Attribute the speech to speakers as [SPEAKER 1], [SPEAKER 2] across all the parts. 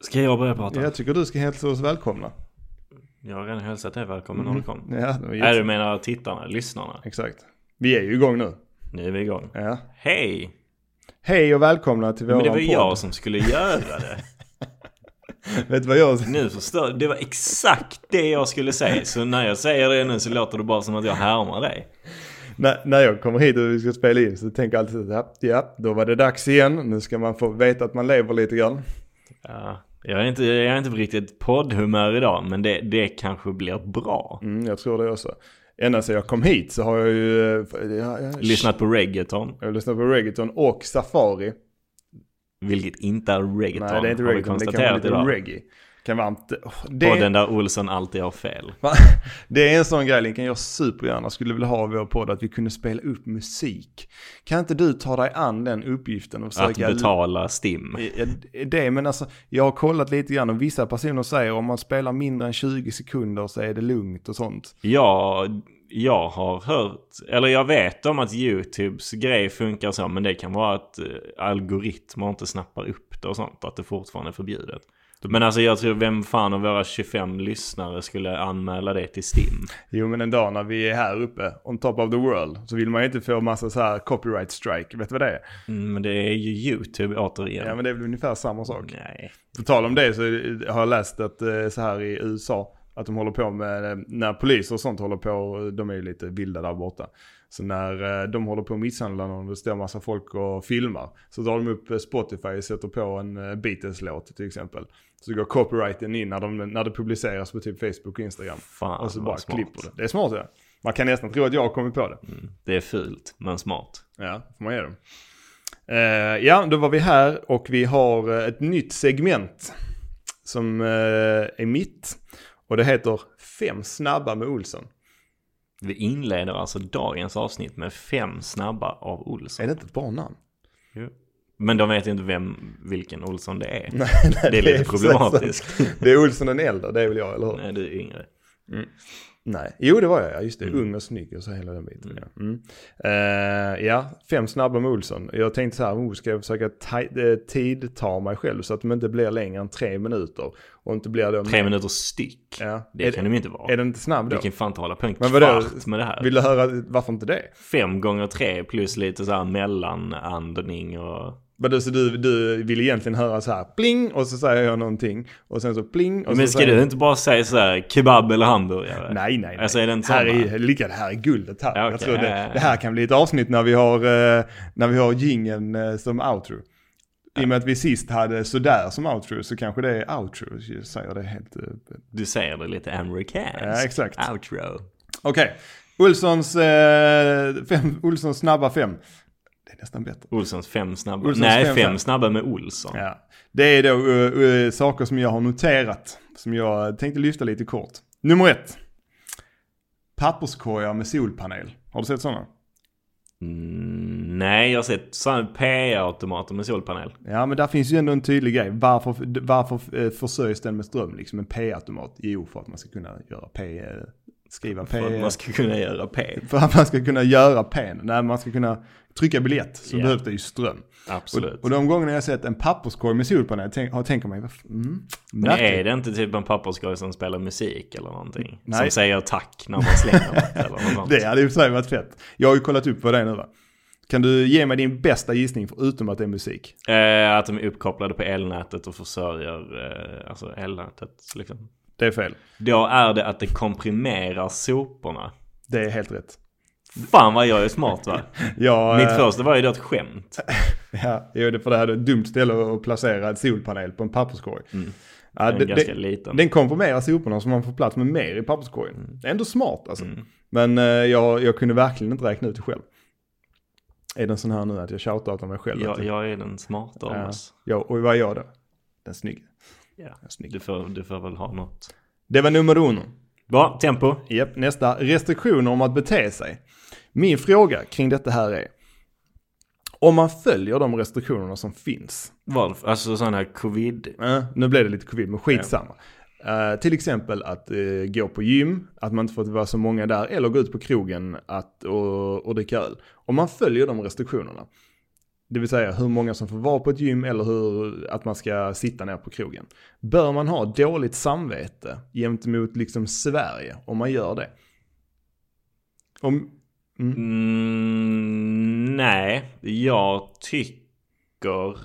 [SPEAKER 1] Ska jag börja prata?
[SPEAKER 2] Jag tycker du ska hälsa oss välkomna.
[SPEAKER 1] Jag har redan hälsat dig välkommen
[SPEAKER 2] Mm.
[SPEAKER 1] när du kom.
[SPEAKER 2] Ja, det var
[SPEAKER 1] Nej,
[SPEAKER 2] jätte-
[SPEAKER 1] du menar tittarna, lyssnarna.
[SPEAKER 2] Exakt. Vi är ju igång nu.
[SPEAKER 1] Nu är vi igång.
[SPEAKER 2] Ja.
[SPEAKER 1] Hej!
[SPEAKER 2] Hej och välkomna till våran
[SPEAKER 1] Men det var
[SPEAKER 2] podd.
[SPEAKER 1] jag som skulle göra det.
[SPEAKER 2] Vet du vad jag...
[SPEAKER 1] Nu förstör Det var exakt det jag skulle säga. Så när jag säger det nu så låter det bara som att jag härmar dig.
[SPEAKER 2] när, när jag kommer hit och vi ska spela in så tänker jag alltid så här, ja, då var det dags igen. Nu ska man få veta att man lever lite grann.
[SPEAKER 1] Ja, jag, är inte, jag är inte på riktigt poddhumör idag, men det, det kanske blir bra.
[SPEAKER 2] Mm, jag tror det också. Ända sedan jag kom hit så har jag ju... eh, Jag, jag,
[SPEAKER 1] Lyssnat på reggaeton,
[SPEAKER 2] Jag har lyssnat på reggaeton och safari.
[SPEAKER 1] vilket inte är reggaeton.
[SPEAKER 2] Nej, det är inte
[SPEAKER 1] har vi
[SPEAKER 2] reggaeton, det kan vara
[SPEAKER 1] konstaterat
[SPEAKER 2] lite
[SPEAKER 1] idag.
[SPEAKER 2] reggae. Kan vara inte... åh, det...
[SPEAKER 1] Podden där Olsson alltid har fel.
[SPEAKER 2] Va? Det är en sån grej Linkan, jag supergärna skulle vilja ha i vår podd att vi kunde spela upp musik. Kan inte du ta dig an den uppgiften och
[SPEAKER 1] Att
[SPEAKER 2] försöka...
[SPEAKER 1] betala STIM.
[SPEAKER 2] Ja, Det, men alltså, jag har kollat lite grann och vissa personer säger om man spelar mindre än 20 sekunder så är det lugnt och sånt.
[SPEAKER 1] Jag, jag har hört, eller jag vet om att YouTubes grej funkar så, men det kan vara att eh, algoritmer inte snappar upp det och sånt, att det fortfarande är förbjudet. Men alltså jag tror, vem fan av våra 25 lyssnare skulle anmäla det till STIM?
[SPEAKER 2] Jo, men en dag när vi är här uppe, on top of the world, så vill man ju inte få massa så här copyright strike. Vet du vad det är?
[SPEAKER 1] Mm, men det är ju YouTube återigen.
[SPEAKER 2] Ja, men det är väl ungefär samma sak.
[SPEAKER 1] Nej.
[SPEAKER 2] På tal om det så är det- har jag läst att eh, så här i USA att de håller på med, eh, när poliser och sånt håller på, eh, de är ju lite vilda där borta. Så när eh, de håller på att misshandla någon och det står massa folk och filmar så drar de upp eh, Spotify och sätter på en eh, Beatles-låt till exempel. Så går copyrighten in när, de, när det publiceras på typ Facebook och Instagram.
[SPEAKER 1] Fan
[SPEAKER 2] och så
[SPEAKER 1] vad
[SPEAKER 2] Alltså, bara
[SPEAKER 1] smart.
[SPEAKER 2] klipper det. Det är smart ja. Man kan nästan tro att jag har kommit på det.
[SPEAKER 1] Det är fult, men smart.
[SPEAKER 2] Ja, får man ge dem. Eh, ja, då var vi här och vi har eh, ett nytt segment som eh, är mitt. Och det heter Fem snabba med Olsson.
[SPEAKER 1] Vi inleder alltså dagens avsnitt med fem snabba av
[SPEAKER 2] Är
[SPEAKER 1] Olsson.
[SPEAKER 2] det inte ett bra namn?
[SPEAKER 1] Jo. Men de vet inte vem, vilken Olsson det är.
[SPEAKER 2] Nej,
[SPEAKER 1] det är lite
[SPEAKER 2] precis
[SPEAKER 1] problematiskt.
[SPEAKER 2] sant. Det är Olsson den äldre, det är väl jag, eller hur? Nej.
[SPEAKER 1] Nej, du är yngre.
[SPEAKER 2] Jo, det var jag, ja. Just det.
[SPEAKER 1] Mm.
[SPEAKER 2] Ung och snygg och så hela den biten. Ja. Mm. Eh, ja, Fem snabba med Olsson. Jag tänkte så här, oh, ska jag försöka ti- eh, tidta mig själv så att de inte blir längre än tre minuter? Och inte blir då...
[SPEAKER 1] Tre minuter styck.
[SPEAKER 2] Ja.
[SPEAKER 1] Det
[SPEAKER 2] Är
[SPEAKER 1] kan de inte vara.
[SPEAKER 2] Är den inte snabb då?
[SPEAKER 1] Vi kan fan inte hålla på en
[SPEAKER 2] Men vadå?
[SPEAKER 1] kvart med det här.
[SPEAKER 2] Vill du höra varför inte det?
[SPEAKER 1] Fem gånger tre plus lite så här mellanandning och...
[SPEAKER 2] Men du, så du, du vill egentligen höra så här pling och så säger jag någonting och sen så pling och så
[SPEAKER 1] Men ska
[SPEAKER 2] säger
[SPEAKER 1] du inte bara säga så här kebab eller hamburgare?
[SPEAKER 2] Nej, nej, nej.
[SPEAKER 1] Alltså är det inte
[SPEAKER 2] här
[SPEAKER 1] samma?
[SPEAKER 2] är, lika, det här är guldet här.
[SPEAKER 1] Ja,
[SPEAKER 2] jag
[SPEAKER 1] okej,
[SPEAKER 2] tror
[SPEAKER 1] ja, ja,
[SPEAKER 2] det,
[SPEAKER 1] ja.
[SPEAKER 2] det här kan bli ett avsnitt när vi har, eh, när vi har gingen eh, som outro. I och med att vi sist hade sådär som outro så kanske det är outro. Jag säger det helt... eh,
[SPEAKER 1] Du säger det lite amerikanskt.
[SPEAKER 2] Ja, exakt.
[SPEAKER 1] Outro.
[SPEAKER 2] Okej. Olssons, eh, fem, Olssons snabba fem. Det är nästan bättre.
[SPEAKER 1] Olssons fem snabba.
[SPEAKER 2] Olssons
[SPEAKER 1] nej,
[SPEAKER 2] fem
[SPEAKER 1] fem,
[SPEAKER 2] snabba.
[SPEAKER 1] snabba med Olsson.
[SPEAKER 2] Ja. Det är då eh, eh, saker som jag har noterat, som jag tänkte lyfta lite kort. Nummer ett. Papperskorgar med solpanel. Har du sett sådana?
[SPEAKER 1] Mm, nej, jag har sett sådana PA-automater med solpanel.
[SPEAKER 2] Ja, men där finns ju ändå en tydlig grej. Varför, varför eh, försörjs den med ström, liksom en P-automat? Jo, för att man ska kunna göra P... eh, Skriva P...
[SPEAKER 1] För att man ska kunna göra P.
[SPEAKER 2] För att man ska kunna göra P. När man ska kunna trycka biljett så
[SPEAKER 1] Ja.
[SPEAKER 2] behövs det ju ström.
[SPEAKER 1] Absolut.
[SPEAKER 2] Och, och de gångerna jag har sett en papperskorg med solpanel tänk, har jag tänkt mig, vad f- mm,
[SPEAKER 1] Men
[SPEAKER 2] märkligt.
[SPEAKER 1] är det inte typ en papperskorg som spelar musik eller någonting?
[SPEAKER 2] Nej.
[SPEAKER 1] Som säger tack när man slänger något eller något sånt?
[SPEAKER 2] Det hade i och för sig varit fett. Jag har ju kollat upp vad det är nu va. Kan du ge mig din bästa gissning förutom att det är musik?
[SPEAKER 1] Eh, att de är uppkopplade på elnätet och försörjer eh, alltså elnätet. Liksom.
[SPEAKER 2] Det är fel.
[SPEAKER 1] Då är det att det komprimerar soporna.
[SPEAKER 2] Det är helt rätt.
[SPEAKER 1] Fan vad jag är smart va?
[SPEAKER 2] Jag,
[SPEAKER 1] Mitt
[SPEAKER 2] eh,
[SPEAKER 1] första var ju då ett skämt.
[SPEAKER 2] Ja, jo, det för det här är ett dumt ställe att placera en solpanel på en papperskorg.
[SPEAKER 1] Mm.
[SPEAKER 2] Ja,
[SPEAKER 1] En
[SPEAKER 2] det-
[SPEAKER 1] ganska
[SPEAKER 2] det-
[SPEAKER 1] liten.
[SPEAKER 2] Den komprimerar soporna så man får plats med mer i papperskorgen. Det är ändå smart alltså. Men eh, jag, jag kunde verkligen inte räkna ut det själv. Är den sån här nu att jag tjatar om mig själv?
[SPEAKER 1] Jag,
[SPEAKER 2] Att-
[SPEAKER 1] jag är den smarta av
[SPEAKER 2] ja.
[SPEAKER 1] oss.
[SPEAKER 2] Ja, och vad är jag då? Den snygga.
[SPEAKER 1] Ja.
[SPEAKER 2] snygg.
[SPEAKER 1] Du, får, du får väl ha något.
[SPEAKER 2] Det var nummer uno.
[SPEAKER 1] Bra, tempo.
[SPEAKER 2] Japp, nästa. Restriktioner om att bete sig. Min fråga kring detta här är. Om man följer de restriktionerna som finns.
[SPEAKER 1] Varför? Alltså sån här covid.
[SPEAKER 2] Eh, nu blev det lite covid, men skitsamma. Eh, till exempel att eh, gå på gym, att man inte får vara så många där, eller gå ut på krogen att, och, och dricka öl. Om man följer de restriktionerna, Det vill säga hur många som får vara på ett gym eller hur, att man ska sitta ner på krogen. Bör man ha dåligt samvete gentemot liksom Sverige om man gör det? Om, mm,
[SPEAKER 1] Mm, nej, jag tycker...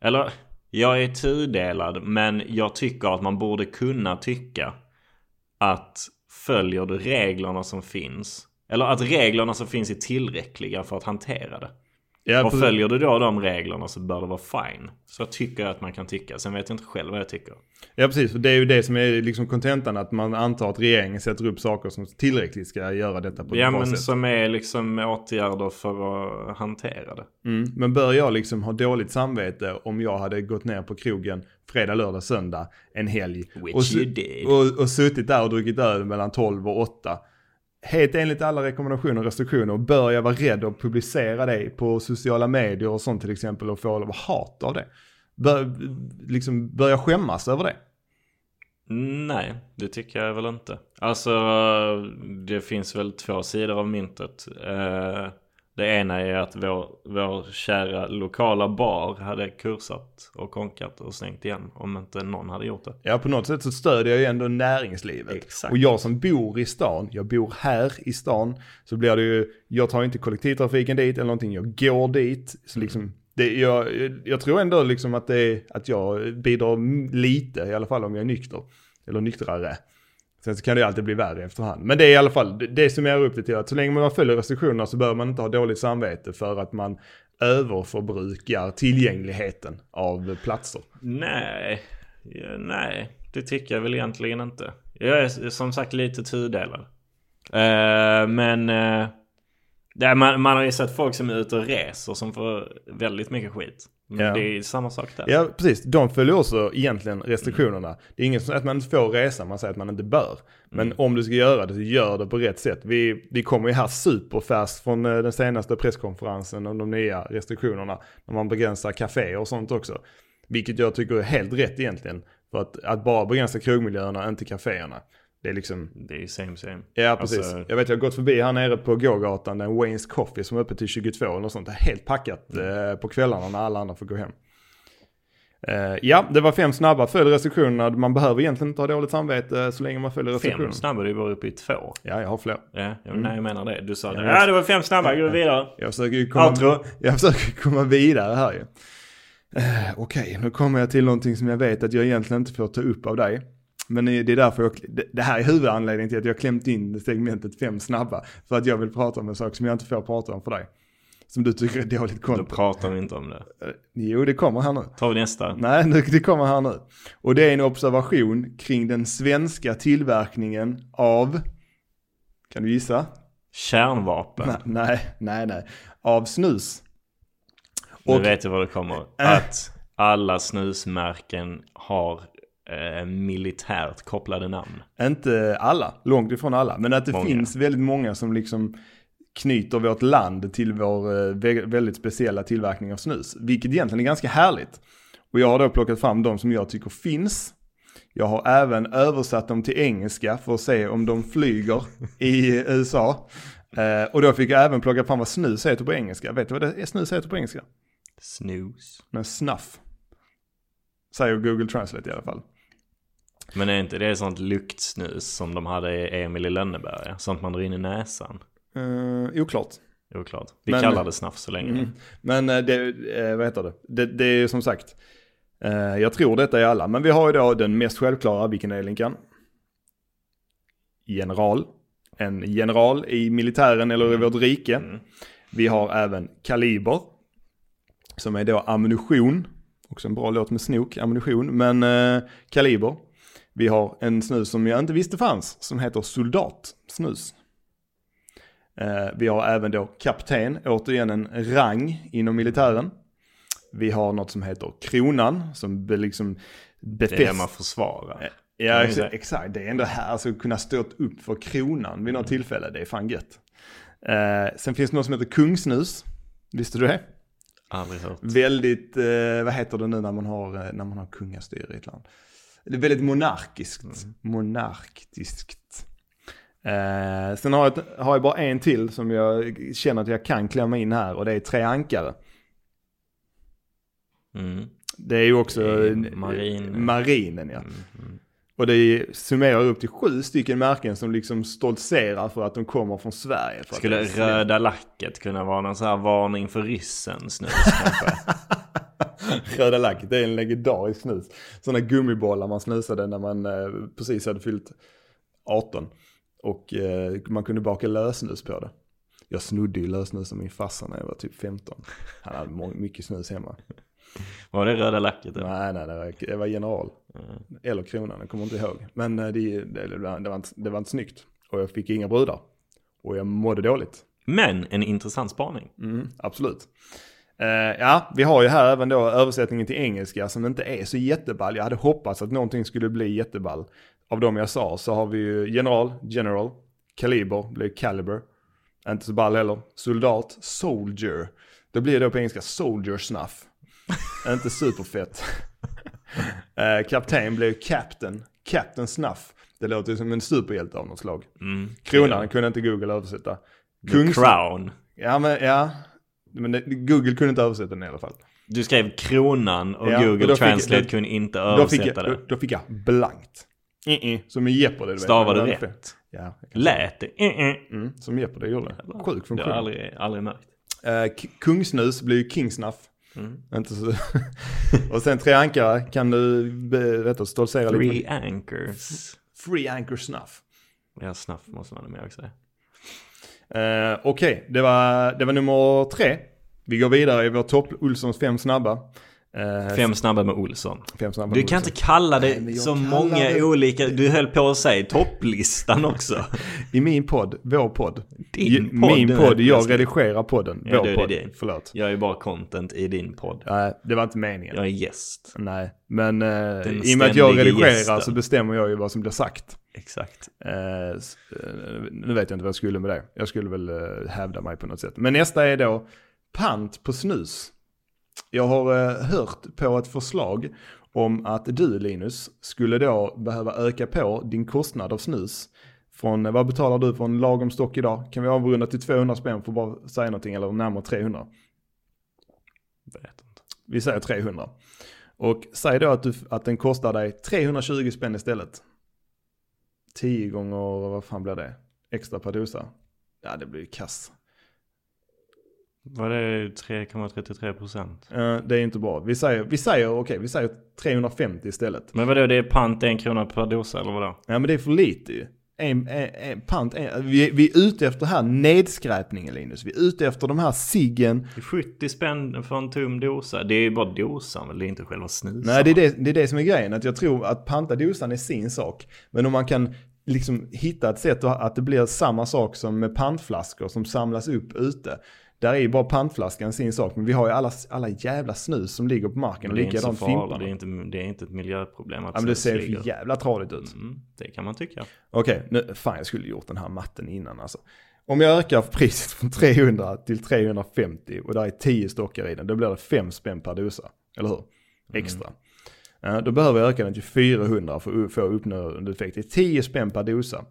[SPEAKER 1] Eller, jag är tudelad, men jag tycker att man borde kunna tycka att följer du reglerna som finns, eller att reglerna som finns är tillräckliga för att hantera det.
[SPEAKER 2] ja,
[SPEAKER 1] Och
[SPEAKER 2] precis.
[SPEAKER 1] följer du då de reglerna så bör det vara fine. Så tycker jag att man kan tycka. Sen vet jag inte själv vad jag tycker.
[SPEAKER 2] Ja precis, för det är ju det som är liksom kontentan att man antar att regeringen sätter upp saker som tillräckligt ska göra detta på ett
[SPEAKER 1] Ja
[SPEAKER 2] bra
[SPEAKER 1] men
[SPEAKER 2] sätt.
[SPEAKER 1] som är liksom åtgärder för att hantera det.
[SPEAKER 2] Mm. Men bör jag liksom ha dåligt samvete om jag hade gått ner på krogen fredag, lördag, söndag en helg.
[SPEAKER 1] Which
[SPEAKER 2] och, su-
[SPEAKER 1] you did.
[SPEAKER 2] och, och suttit där och druckit öl mellan 12 och 8. Helt enligt alla rekommendationer och restriktioner bör jag vara rädd att publicera det på sociala medier och sånt till exempel och få hat av det. Bör, liksom, bör jag skämmas över det?
[SPEAKER 1] Nej, det tycker jag väl inte. Alltså, det finns väl två sidor av myntet. Eh, Det ena är att vår, vår kära lokala bar hade kursat och konkat och stängt igen om inte någon hade gjort det.
[SPEAKER 2] Ja, på något sätt så stödjer jag ju ändå näringslivet.
[SPEAKER 1] Exakt.
[SPEAKER 2] Och jag som bor i stan, jag bor här i stan, så blir det ju, jag tar inte kollektivtrafiken dit eller någonting, jag går dit. Så liksom, det, jag, jag tror ändå liksom att, det, att jag bidrar m- lite, i alla fall om jag är nykter. Eller nyktrare. Sen så kan det ju alltid bli värre efterhand. Men det är i alla fall, det, det summerar upp det till att så länge man följer restriktionerna så bör man inte ha dåligt samvete för att man överförbrukar tillgängligheten av platser.
[SPEAKER 1] Nej, ja, nej, det tycker jag väl egentligen inte. Jag är s- som sagt lite tudelad. Eh, men eh, där man, man har ju sett folk som är ute och reser som får väldigt mycket skit. Men
[SPEAKER 2] Ja.
[SPEAKER 1] det är ju samma sak där.
[SPEAKER 2] Ja, precis. De följer också egentligen restriktionerna. Det är inget som att man inte får resa, man säger att man inte bör. Men om du ska göra det så gör det på rätt sätt. Vi, vi kommer ju här superfärskt från eh, den senaste presskonferensen om de nya restriktionerna. När man begränsar kaféer och sånt också. Vilket jag tycker är helt rätt egentligen. För att, att bara begränsa krogmiljöerna, inte kaféerna. Det är liksom,
[SPEAKER 1] Det är ju same same.
[SPEAKER 2] ja precis.
[SPEAKER 1] Alltså-
[SPEAKER 2] jag vet jag har gått förbi här nere på gågatan, en Wayne's Coffee som är öppet till 22 eller något sånt. Det är helt packat
[SPEAKER 1] Mm.
[SPEAKER 2] eh, på kvällarna när alla andra får gå hem. Eh, ja, det var fem snabba. Följ restriktionerna. Man behöver egentligen inte ha dåligt samvete eh, så länge man följer
[SPEAKER 1] Fem
[SPEAKER 2] restriktionerna.
[SPEAKER 1] snabba, du var uppe i två.
[SPEAKER 2] Ja, jag har fler.
[SPEAKER 1] Ja, jag, nej, jag menar det. Du sa det.
[SPEAKER 2] jag vet.
[SPEAKER 1] Mm. Ja, det var fem snabba, gå vidare.
[SPEAKER 2] Jag försöker ju komma,
[SPEAKER 1] Outro.
[SPEAKER 2] jag försöker komma vidare här ju. Eh, Okej, nu kommer jag till någonting som jag vet att jag egentligen inte får ta upp av dig. Men det är därför jag, det- det här är huvudanledningen till att jag klämt in segmentet fem snabba. För att jag vill prata om en sak som jag inte får prata om för dig. Som du tycker är dåligt
[SPEAKER 1] Då
[SPEAKER 2] content.
[SPEAKER 1] pratar vi inte om det.
[SPEAKER 2] Eh, Jo, det kommer här nu.
[SPEAKER 1] Tar vi nästa.
[SPEAKER 2] Nej, nu, det kommer här nu. Och det är en observation kring den svenska tillverkningen av, kan du gissa?
[SPEAKER 1] Kärnvapen.
[SPEAKER 2] Nej, nej, nej. nej. Av snus.
[SPEAKER 1] Nu
[SPEAKER 2] Och- Äh.
[SPEAKER 1] vet jag vad det kommer. Att alla snusmärken har eh, militärt kopplade namn.
[SPEAKER 2] Inte alla, långt ifrån alla, men att det
[SPEAKER 1] Många.
[SPEAKER 2] finns väldigt många som liksom knyter vårt land till vår eh, vä- väldigt speciella tillverkning av snus, vilket egentligen är ganska härligt. Och jag har då plockat fram de som jag tycker finns. Jag har även översatt dem till engelska för att se om de flyger i USA. Eh, och då fick jag även plocka fram vad snus heter på engelska. Vet du vad det, snus heter på engelska?
[SPEAKER 1] Snus.
[SPEAKER 2] Nej, snuff. Säger Google Translate i alla fall.
[SPEAKER 1] Men är inte det sånt luktsnus som de hade i Emil i Lönneberga? Sånt man drar in i näsan.
[SPEAKER 2] Eh, oklart.
[SPEAKER 1] Oklart. Vi
[SPEAKER 2] Men-
[SPEAKER 1] kallar det snaff så länge.
[SPEAKER 2] Mm. Men eh, det, eh, vad heter det? Det, det är ju som sagt, eh, jag tror detta är alla, men vi har ju då den mest självklara, vilken är Linkan? General. En general i militären eller i
[SPEAKER 1] Mm.
[SPEAKER 2] vårt rike. Vi har även kaliber, som är då ammunition. Också en bra låt med snok, ammunition, men eh, kaliber. Vi har en snus som jag inte visste fanns, som heter soldat snus. Eh, Vi har även då kapten, återigen en rang inom militären. Vi har något som heter kronan som be- liksom
[SPEAKER 1] Det är det
[SPEAKER 2] befäst.
[SPEAKER 1] man
[SPEAKER 2] Eh.
[SPEAKER 1] försvarar.
[SPEAKER 2] Ja,
[SPEAKER 1] Kan man
[SPEAKER 2] exakt,
[SPEAKER 1] säga.
[SPEAKER 2] exakt. Det är ändå här, alltså kunna stå upp för kronan vid något
[SPEAKER 1] Mm.
[SPEAKER 2] tillfälle, det är fan gött. Eh, sen finns det något som heter kungsnus. Visste du det?
[SPEAKER 1] Aldrig hört.
[SPEAKER 2] Väldigt, eh, vad heter det nu när man har, eh, när man har kungastyre i ett land? Det är väldigt monarkiskt.
[SPEAKER 1] Mm.
[SPEAKER 2] Monarkiskt. Eh, sen har jag, ett- har jag bara en till som jag känner att jag kan klämma in här och det är tre ankare.
[SPEAKER 1] Mm.
[SPEAKER 2] Det är ju också
[SPEAKER 1] Det är
[SPEAKER 2] eh,
[SPEAKER 1] marinen.
[SPEAKER 2] marinen ja.
[SPEAKER 1] Mm. Mm.
[SPEAKER 2] Och det summerar upp till sju stycken märken som liksom stoltserar för att de kommer från Sverige. För att det
[SPEAKER 1] Skulle
[SPEAKER 2] är snällt.
[SPEAKER 1] röda lacket kunna vara någon sån här varning för ryssen snus kanske?
[SPEAKER 2] Röda lacket, det är en legendarisk snus. Sådana gummibollar man snusade när man eh, precis hade fyllt 18. Och eh, man kunde baka lösnus på det. Jag snodde ju lösnus av min farsa när jag var typ 15. Han hade må- mycket snus hemma.
[SPEAKER 1] Var det röda lacket? eller?
[SPEAKER 2] Nej, nej, det var, det var general.
[SPEAKER 1] Mm.
[SPEAKER 2] Eller kronan, jag kommer inte ihåg. Men eh, det, det, det, var, det, var inte, det var inte snyggt. Och jag fick inga brudar. Och jag mådde dåligt.
[SPEAKER 1] Men en intressant spaning.
[SPEAKER 2] Mm, absolut. Eh, ja, vi har ju här även då översättningen till engelska som inte är så jätteball. Jag hade hoppats att någonting skulle bli jätteball. Av de jag sa så har vi ju general, general, kaliber, blir caliber. Inte så ball heller. Soldat, soldier. Då blir det då på engelska soldier snuff. inte superfett. Eh, kapten blir captain, captain snuff. Det låter ju som en superhjälte av något slag.
[SPEAKER 1] Mm.
[SPEAKER 2] Kronan kunde inte Google översätta.
[SPEAKER 1] The crown.
[SPEAKER 2] Ja, men ja. Men det, Google kunde inte översätta den i alla fall.
[SPEAKER 1] Du skrev kronan och
[SPEAKER 2] Ja, och
[SPEAKER 1] Google
[SPEAKER 2] då fick-
[SPEAKER 1] Translate
[SPEAKER 2] då-
[SPEAKER 1] kunde inte
[SPEAKER 2] Då fick, jag,
[SPEAKER 1] översätta
[SPEAKER 2] då,
[SPEAKER 1] det.
[SPEAKER 2] då fick jag blankt. Mm-mm. Som en jeopardy. du vet.
[SPEAKER 1] Stavade du
[SPEAKER 2] Ja,
[SPEAKER 1] rätt?
[SPEAKER 2] Ja. jag kan säga.
[SPEAKER 1] Lät det? Eh, eh.
[SPEAKER 2] Mm, som jeopardy gjorde. det. Sjuk
[SPEAKER 1] Det har
[SPEAKER 2] funktion.
[SPEAKER 1] jag aldrig, aldrig märkt.
[SPEAKER 2] Eh, k- kungsnus blir ju kingsnuff.
[SPEAKER 1] Mm.
[SPEAKER 2] Inte så... och sen tre ankare kan du be- vet du, stoltsera lite. med-
[SPEAKER 1] Three anchors.
[SPEAKER 2] Free anchor snuff.
[SPEAKER 1] Ja, snaff måste man ha med också.
[SPEAKER 2] Eh, Okej, det, var, det var nummer tre. Vi går vidare i vår topp, Olssons fem snabba. Eh,
[SPEAKER 1] Fem snabba med Olsson.
[SPEAKER 2] fem snabba
[SPEAKER 1] Du
[SPEAKER 2] med
[SPEAKER 1] kan
[SPEAKER 2] Olsson.
[SPEAKER 1] inte kalla
[SPEAKER 2] Nej, men
[SPEAKER 1] det
[SPEAKER 2] jag
[SPEAKER 1] så
[SPEAKER 2] kallar
[SPEAKER 1] många
[SPEAKER 2] det-
[SPEAKER 1] olika... Du höll på att säga topplistan också.
[SPEAKER 2] I min podd, vår podd.
[SPEAKER 1] Din
[SPEAKER 2] Ju-
[SPEAKER 1] podd,
[SPEAKER 2] min
[SPEAKER 1] den
[SPEAKER 2] podd,
[SPEAKER 1] här
[SPEAKER 2] jag
[SPEAKER 1] plötsligt.
[SPEAKER 2] redigerar podden.
[SPEAKER 1] Ja,
[SPEAKER 2] vår
[SPEAKER 1] det är
[SPEAKER 2] podd.
[SPEAKER 1] din.
[SPEAKER 2] Förlåt.
[SPEAKER 1] Jag är bara content i din podd.
[SPEAKER 2] Nej, det var inte meningen.
[SPEAKER 1] Jag är gäst.
[SPEAKER 2] Nej, men eh, i och med att
[SPEAKER 1] ständige
[SPEAKER 2] jag redigerar
[SPEAKER 1] gästen.
[SPEAKER 2] så bestämmer jag ju vad som blir sagt.
[SPEAKER 1] Exakt.
[SPEAKER 2] Eh, s- eh, nu vet jag inte vad jag skulle med det. Jag skulle väl eh, hävda mig på något sätt. Men nästa är då pant på snus. Jag har eh, hört på ett förslag om att du Linus skulle då behöva öka på din kostnad av snus. Från, eh, vad betalar du för en lagom stock idag? Kan vi avrunda till 200 spänn för att bara säga någonting eller närmare 300?
[SPEAKER 1] Vet inte.
[SPEAKER 2] Vi säger 300. Och säg då att, du, att den kostar dig 320 spänn istället. 10 gånger, vad fan blir det? Extra per dosa. Ja, det blir ju kass.
[SPEAKER 1] Var det 3,33 procent?
[SPEAKER 2] Eh, det är inte bra. Vi säger, vi säger okej, vi säger 350 istället.
[SPEAKER 1] Men vadå, det är pant en krona per dosa eller vadå?
[SPEAKER 2] Ja, men det är för lite ju. En, en, en pant, en, vi, vi är ute efter här nedskräpningen Linus. Vi är ute efter de här ciggen.
[SPEAKER 1] 70 spänn för en tom dosa. Det är ju bara dosan väl? Det är inte själva snusen.
[SPEAKER 2] Nej, det är det, det är det som är grejen. Att jag tror att panta dosan är sin sak. Men om man kan liksom hitta ett sätt att att det blir samma sak som med pantflaskor som samlas upp ute. Där är ju bara pantflaskan sin sak. Men vi har ju alla, alla jävla snus som ligger på marken.
[SPEAKER 1] Men
[SPEAKER 2] Och
[SPEAKER 1] det är inte så
[SPEAKER 2] likadant
[SPEAKER 1] farligt. Det är
[SPEAKER 2] fimparna.
[SPEAKER 1] inte, det är inte ett miljöproblem att
[SPEAKER 2] Ja, men det
[SPEAKER 1] snus
[SPEAKER 2] ser ju
[SPEAKER 1] ligger.
[SPEAKER 2] för jävla tradigt ut.
[SPEAKER 1] Mm, det kan man tycka.
[SPEAKER 2] Okej, nu, fan jag skulle gjort den här matten innan alltså. Om jag ökar priset från 300 till 350 och där är 10 stockar i den, då blir det 5 spänn per dosa. Eller hur? Extra. Eh, Då behöver jag öka den till 400 för att få uppnående effekt. Det är 10 spänn per dosa.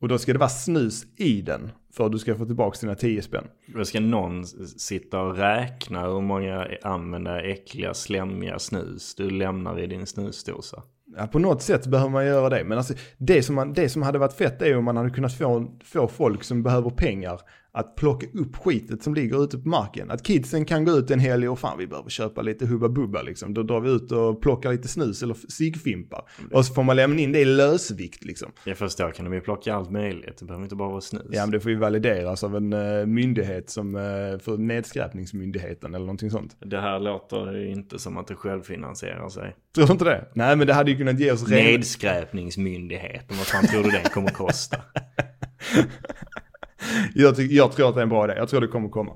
[SPEAKER 2] Och då ska det vara snus i den för att du ska få tillbaka dina 10 spänn.
[SPEAKER 1] Då ska någon s- sitta och räkna hur många använda äckliga, slemmiga snus du lämnar i din snusdosa.
[SPEAKER 2] Ja, på något sätt behöver man göra det. Men alltså, det, som man, det som hade varit fett är om man hade kunnat få, få folk som behöver pengar att plocka upp skitet som ligger ute på marken. Att kidsen kan gå ut en helg och fan vi behöver köpa lite Hubba Bubba liksom. Då drar vi ut och plockar lite snus eller ciggfimpar. Och så får man lämna in det i lösvikt liksom.
[SPEAKER 1] Jag förstår, kan de ju plocka allt möjligt. Det behöver inte bara vara snus.
[SPEAKER 2] Ja men det får ju valideras av en eh, myndighet som, eh, för nedskräpningsmyndigheten eller någonting sånt.
[SPEAKER 1] Det här låter ju inte som att det självfinansierar sig.
[SPEAKER 2] Tror du inte det? Nej men det hade ju kunnat ge oss ren-
[SPEAKER 1] Nedskräpningsmyndigheten, vad fan tror du den kommer kosta?
[SPEAKER 2] Jag, ty- jag tror att det är en bra idé. Jag tror det kommer komma.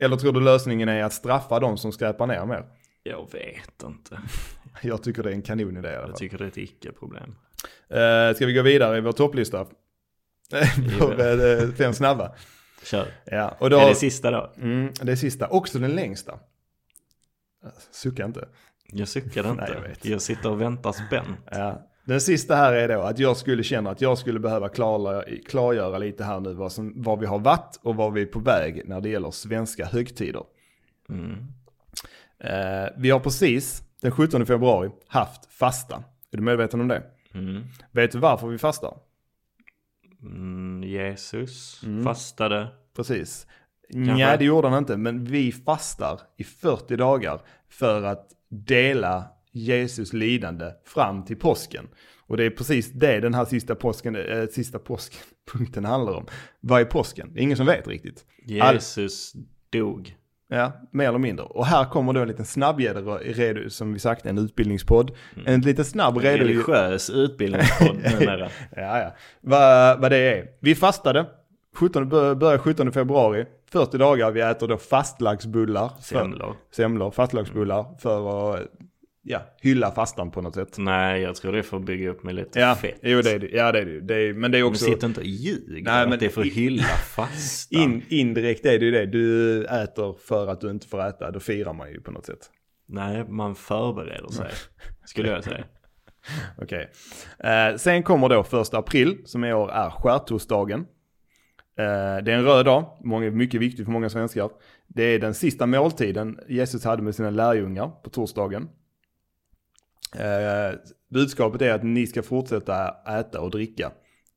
[SPEAKER 2] Eller tror du lösningen är att straffa de som skräpar ner mer?
[SPEAKER 1] Jag vet inte.
[SPEAKER 2] Jag tycker det är en kanonidé i alla fall.
[SPEAKER 1] Jag tycker det är ett icke-problem.
[SPEAKER 2] Eh, ska vi gå vidare i vår topplista? Vår, eh, fem snabba.
[SPEAKER 1] Kör.
[SPEAKER 2] Ja, och då,
[SPEAKER 1] Är det sista då?
[SPEAKER 2] mm, det är sista. Också den längsta. Sucka inte.
[SPEAKER 1] Jag suckar inte.
[SPEAKER 2] Nej, jag
[SPEAKER 1] jag,
[SPEAKER 2] vet.
[SPEAKER 1] sitter och väntar spänt.
[SPEAKER 2] Ja. Den sista här är då att jag skulle känna att jag skulle behöva klarla- klargöra lite här nu vad, som, vad vi har varit och vad vi är på väg när det gäller svenska högtider.
[SPEAKER 1] Mm.
[SPEAKER 2] Eh, Eh, vi har precis den 17 februari haft fasta. Är du medveten om det?
[SPEAKER 1] Mm.
[SPEAKER 2] Vet du varför vi fastar?
[SPEAKER 1] Mm, Jesus fastade.
[SPEAKER 2] Precis. Nej, det gjorde han inte. Men vi fastar i 40 dagar för att dela Jesus lidande fram till påsken. Och det är precis det den här sista påsken, eh, sista påsken, punkten handlar om. Vad är påsken? Det är ingen som vet riktigt. All-
[SPEAKER 1] Jesus dog.
[SPEAKER 2] Ja, mer eller mindre. Och här kommer då en liten snabb redo- redo, som vi sagt, en utbildningspodd. En liten snabb redogörelse.
[SPEAKER 1] Religiös utbildningspodd numera.
[SPEAKER 2] Ja, ja. Vad, vad det är. Vi fastade. 17, bör- börjar 17 februari. 40 dagar. Vi äter då fastlagsbullar. för-
[SPEAKER 1] Semlor. Mm.
[SPEAKER 2] Semlor, fastlagsbullar. För att ja, hylla fastan på något sätt.
[SPEAKER 1] Nej, jag tror det får bygga upp med lite
[SPEAKER 2] Ja,
[SPEAKER 1] fett.
[SPEAKER 2] jo, det är det. Ja, det är det. det är, men det är
[SPEAKER 1] Men
[SPEAKER 2] också...
[SPEAKER 1] sitt inte och ljug.
[SPEAKER 2] Nej,
[SPEAKER 1] att
[SPEAKER 2] men-
[SPEAKER 1] det är för att hylla fastan.
[SPEAKER 2] In, indirekt är det ju det. Du äter för att du inte får äta. Då firar man ju på något sätt.
[SPEAKER 1] Nej, man förbereder sig. Skulle jag säga.
[SPEAKER 2] Okej. Eh, sen kommer då första april som i år är skärtorsdagen. Eh, det är en röd dag, många, mycket viktig för många svenskar. Det är den sista måltiden Jesus hade med sina lärjungar på torsdagen. Eh, budskapet är att ni ska fortsätta äta och dricka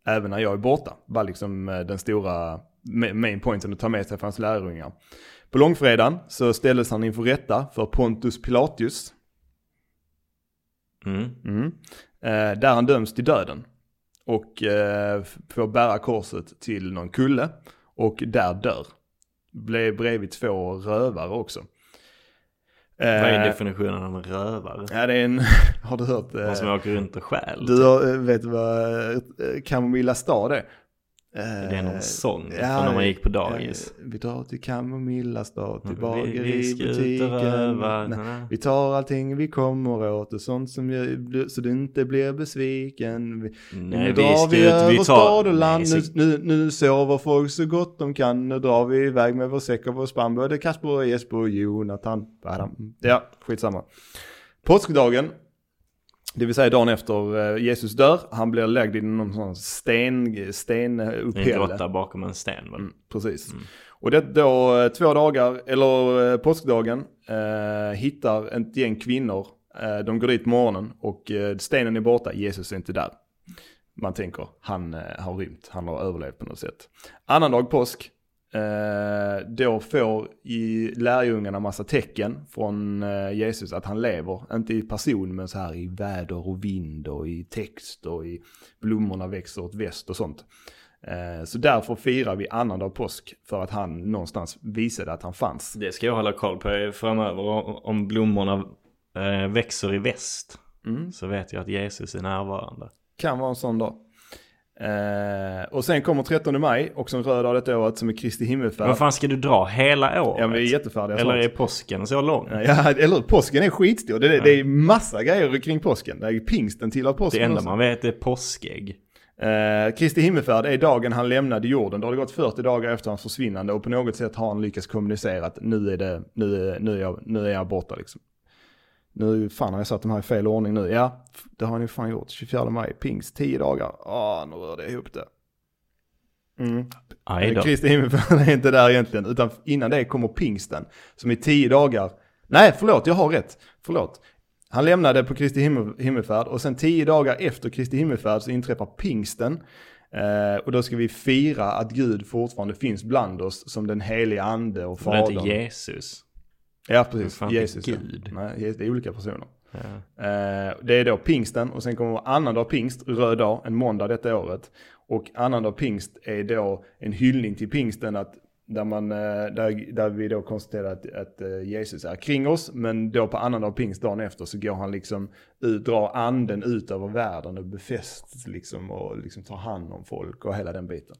[SPEAKER 2] även när jag är borta. Var liksom eh, den stora ma- main pointen att ta med sig för hans lärjungar. På långfredagen så ställdes han inför rätta för Pontus Pilatus.
[SPEAKER 1] Mm.
[SPEAKER 2] Mm. Eh, där han döms till döden. Och eh, f- får bära korset till någon kulle. Och där dör. Blev bredvid två rövare också.
[SPEAKER 1] Vad är
[SPEAKER 2] Eh,
[SPEAKER 1] definitionen av en rövare?
[SPEAKER 2] Ja, det är en... har du hört? eh,
[SPEAKER 1] Någon som åker runt och stjäl?
[SPEAKER 2] du har, eh, vet vad eh, Kamomilla stad är? Eh,
[SPEAKER 1] Det är någon sång
[SPEAKER 2] ja,
[SPEAKER 1] från när man gick på dagis.
[SPEAKER 2] eh, Vi drar till Kamomilla stad, till
[SPEAKER 1] Vi- vi ska ut och
[SPEAKER 2] bageributiken.
[SPEAKER 1] röva.
[SPEAKER 2] Nej, Vi tar allting vi kommer åt och sånt som gör, så du inte blir besviken. Vi,
[SPEAKER 1] Nej,
[SPEAKER 2] nu
[SPEAKER 1] vi
[SPEAKER 2] drar
[SPEAKER 1] ska
[SPEAKER 2] vi,
[SPEAKER 1] ut.
[SPEAKER 2] över
[SPEAKER 1] Vi
[SPEAKER 2] stad och
[SPEAKER 1] tar...
[SPEAKER 2] land,
[SPEAKER 1] Nej,
[SPEAKER 2] nu,
[SPEAKER 1] så-
[SPEAKER 2] nu, nu sover folk så gott de kan. Nu drar vi iväg med vår säck och vår spann, både Kasper och Jesper och Jonathan. Badam. Ja, skitsamma. Påskdagen, det vill säga dagen efter eh, Jesus dör, han blir lagd i någon sån sten,
[SPEAKER 1] En
[SPEAKER 2] stenupphälle.
[SPEAKER 1] grotta bakom en sten. va?
[SPEAKER 2] Mm, precis. Och det då eh, två dagar, eller eh, påskdagen, eh, hittar ett gäng kvinnor. Eh, de går dit på morgonen och eh, stenen är borta, Jesus är inte där. Man tänker, han eh, har rymt, han har överlevt på något sätt. Annan dag påsk, eh, då får i lärjungarna massa tecken från eh, Jesus att han lever. Inte i person, men så här i väder och vind och i text och i blommorna växer åt väst och sånt. Eh, Så därför firar vi annandag påsk för att han någonstans visade att han fanns.
[SPEAKER 1] Det ska jag hålla koll på framöver. Om- Om blommorna eh, växer i väst
[SPEAKER 2] Mm.
[SPEAKER 1] så vet jag att Jesus är närvarande.
[SPEAKER 2] Kan vara en sån dag. Eh, och sen kommer 13 maj, också en röd dag detta året, som är Kristi
[SPEAKER 1] Vad
[SPEAKER 2] himmelfärd.
[SPEAKER 1] fan ska du dra hela året?
[SPEAKER 2] Ja, men vi är jättefärdiga
[SPEAKER 1] Eller är
[SPEAKER 2] snart.
[SPEAKER 1] påsken så lång?
[SPEAKER 2] Ja, eller hur? påsken är skitstor. Det, det, det är massa grejer kring påsken. Det är ju pingsten tillhör påsken
[SPEAKER 1] Det enda
[SPEAKER 2] också.
[SPEAKER 1] man vet är påskägg.
[SPEAKER 2] Eh, Kristi himmelfärd är dagen han lämnade jorden. Det har det gått 40 dagar efter hans försvinnande och på något sätt har han lyckats kommunicera att nu är, det, nu är, nu är, jag, nu är jag borta liksom. Nu fan har jag satt de här i fel ordning nu. Ja, det har han ju fan gjort. 24 maj, pingst, 10 dagar. Ah, nu rörde jag ihop det. Mm.
[SPEAKER 1] Aj då.
[SPEAKER 2] Kristi himmelfärd är inte där egentligen, utan innan det kommer pingsten som är 10 dagar. Nej, förlåt, jag har rätt. Förlåt. Han lämnade på Kristi himmel- himmelfärd och sen tio dagar efter Kristi himmelfärd så inträffar pingsten. Eh, och då ska vi fira att Gud fortfarande finns bland oss som den heliga ande och
[SPEAKER 1] Det är inte
[SPEAKER 2] fadern.
[SPEAKER 1] Jesus.
[SPEAKER 2] Ja,
[SPEAKER 1] Men
[SPEAKER 2] precis.
[SPEAKER 1] fan, det är
[SPEAKER 2] Jesus. ja.
[SPEAKER 1] Gud.
[SPEAKER 2] Nej, Jesus, det är olika personer.
[SPEAKER 1] Ja.
[SPEAKER 2] Eh, Det är då pingsten och sen kommer annandag pingst, röd dag, en måndag detta året. Och annandag pingst är då en hyllning till pingsten att där, man, eh, där, där vi då konstaterar att, att eh, Jesus är kring oss, men då på annandag pingst dagen efter så går han liksom, ut, drar anden ut över världen och befästs liksom och liksom tar hand om folk och hela den biten.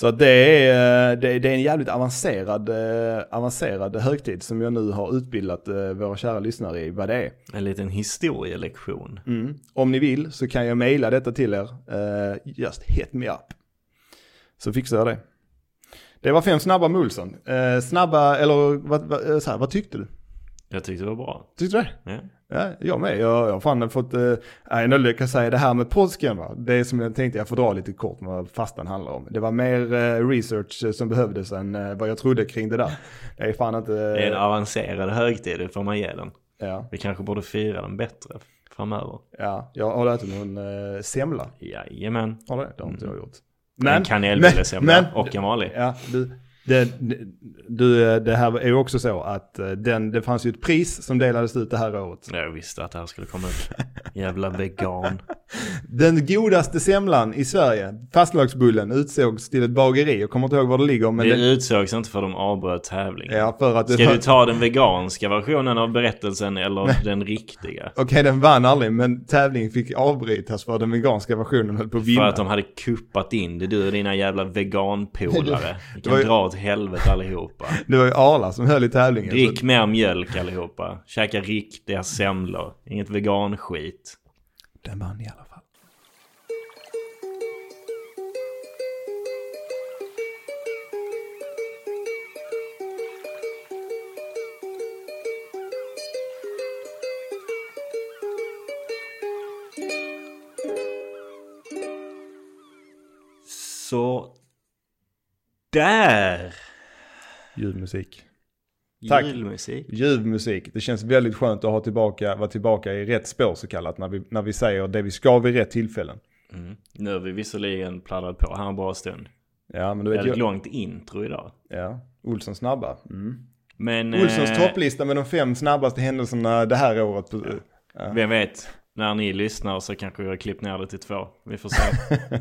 [SPEAKER 2] Så att det är, eh, det, är- det är en jävligt avancerad, eh, avancerad högtid som jag nu har utbildat eh, våra kära lyssnare i vad det är.
[SPEAKER 1] En liten historielektion.
[SPEAKER 2] Mm. Om ni vill så kan jag mejla detta till er. Eh, just hit me up. Så fixar jag det. Det var fem snabba mulsen. Eh, snabba, eller vad, vad, eh, så här, vad tyckte du?
[SPEAKER 1] Jag tyckte det var bra.
[SPEAKER 2] Tyckte du det?
[SPEAKER 1] Ja.
[SPEAKER 2] Ja, jag med. Jag, jag har fan fått, eh, nej nu lyckas jag säga det här med påsken va. Det som jag tänkte jag får dra lite kort vad fastan handlar om. Det var mer eh, research eh, som behövdes än eh, vad jag trodde kring det där. Det är fan inte...
[SPEAKER 1] Det är en avancerad högtid, det får man ge den.
[SPEAKER 2] ja,
[SPEAKER 1] Vi kanske borde fira den bättre framöver.
[SPEAKER 2] ja, jag har ätit någon eh, semla.
[SPEAKER 1] Jajamän.
[SPEAKER 2] Har det? Det har inte jag gjort.
[SPEAKER 1] Mm. en kanelbullesemla
[SPEAKER 2] men-
[SPEAKER 1] och en vanlig.
[SPEAKER 2] Ja, du, det, du, eh, det här är ju också så att eh, den, det fanns ju ett pris som delades ut det här året.
[SPEAKER 1] Jag visste att det här skulle komma upp. Jävla vegan.
[SPEAKER 2] Den godaste semlan i Sverige, fastlagsbullen, utsågs till ett bageri. Jag kommer inte ihåg var det ligger, men
[SPEAKER 1] det
[SPEAKER 2] det,
[SPEAKER 1] utsågs inte för de avbröt tävlingen.
[SPEAKER 2] ja, för att det
[SPEAKER 1] Ska
[SPEAKER 2] var-
[SPEAKER 1] du ta den veganska versionen av berättelsen eller den riktiga?
[SPEAKER 2] Okej, den vann aldrig, men tävlingen fick avbrytas för den veganska versionen höll på att vinna.
[SPEAKER 1] För att de hade kuppat in det, du och dina jävla veganpolare. Ni
[SPEAKER 2] var
[SPEAKER 1] kan
[SPEAKER 2] ju-
[SPEAKER 1] dra åt helvete allihopa.
[SPEAKER 2] Det var ju Arla som höll i tävlingen. så-
[SPEAKER 1] Drick mer mjölk allihopa. Käka riktiga semlor. Inget veganskit.
[SPEAKER 2] Den vann i alla fall.
[SPEAKER 1] Så... Där!
[SPEAKER 2] Ljuv musik. Tack.
[SPEAKER 1] Julmusik.
[SPEAKER 2] Ljuv musik. Det känns väldigt skönt att ha tillbaka, vara tillbaka i rätt spår så kallat. När vi, när vi säger det vi ska vid rätt tillfällen.
[SPEAKER 1] Mm. Nu har vi visserligen pladdrat på här en bra stund.
[SPEAKER 2] Ja, men du vet
[SPEAKER 1] Väldigt
[SPEAKER 2] ju.
[SPEAKER 1] långt intro idag.
[SPEAKER 2] Ja. Olsson snabba. Mm.
[SPEAKER 1] Men...
[SPEAKER 2] Olssons
[SPEAKER 1] eh,
[SPEAKER 2] topplista med de fem snabbaste händelserna det här året. På,
[SPEAKER 1] Vem vet? När ni lyssnar så kanske jag har klippt ner det till två. Vi får se.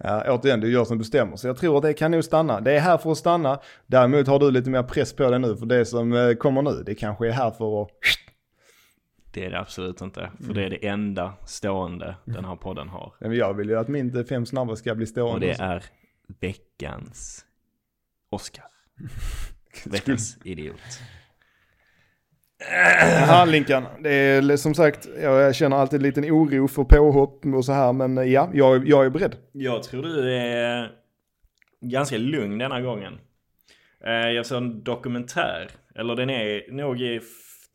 [SPEAKER 2] Ja, återigen, det är jag som bestämmer. Så jag tror att det kan nog stanna. Det är här för att stanna. Däremot har du lite mer press på dig nu för det som eh, kommer nu. Det kanske är här för att...
[SPEAKER 1] Det är det absolut inte. För
[SPEAKER 2] Mm.
[SPEAKER 1] det är det enda stående den här podden har.
[SPEAKER 2] Men Jag vill ju att min fem snabba ska bli
[SPEAKER 1] Och
[SPEAKER 2] stående.
[SPEAKER 1] det är veckans Oscar. Veckans idiot.
[SPEAKER 2] Ja, Linkan. Det är som sagt, jag känner alltid en liten oro för påhopp och så här. Men eh, ja, jag, jag är beredd.
[SPEAKER 1] Jag tror du är ganska lugn denna gången. Eh, Jag såg en dokumentär. Eller den är nog i f-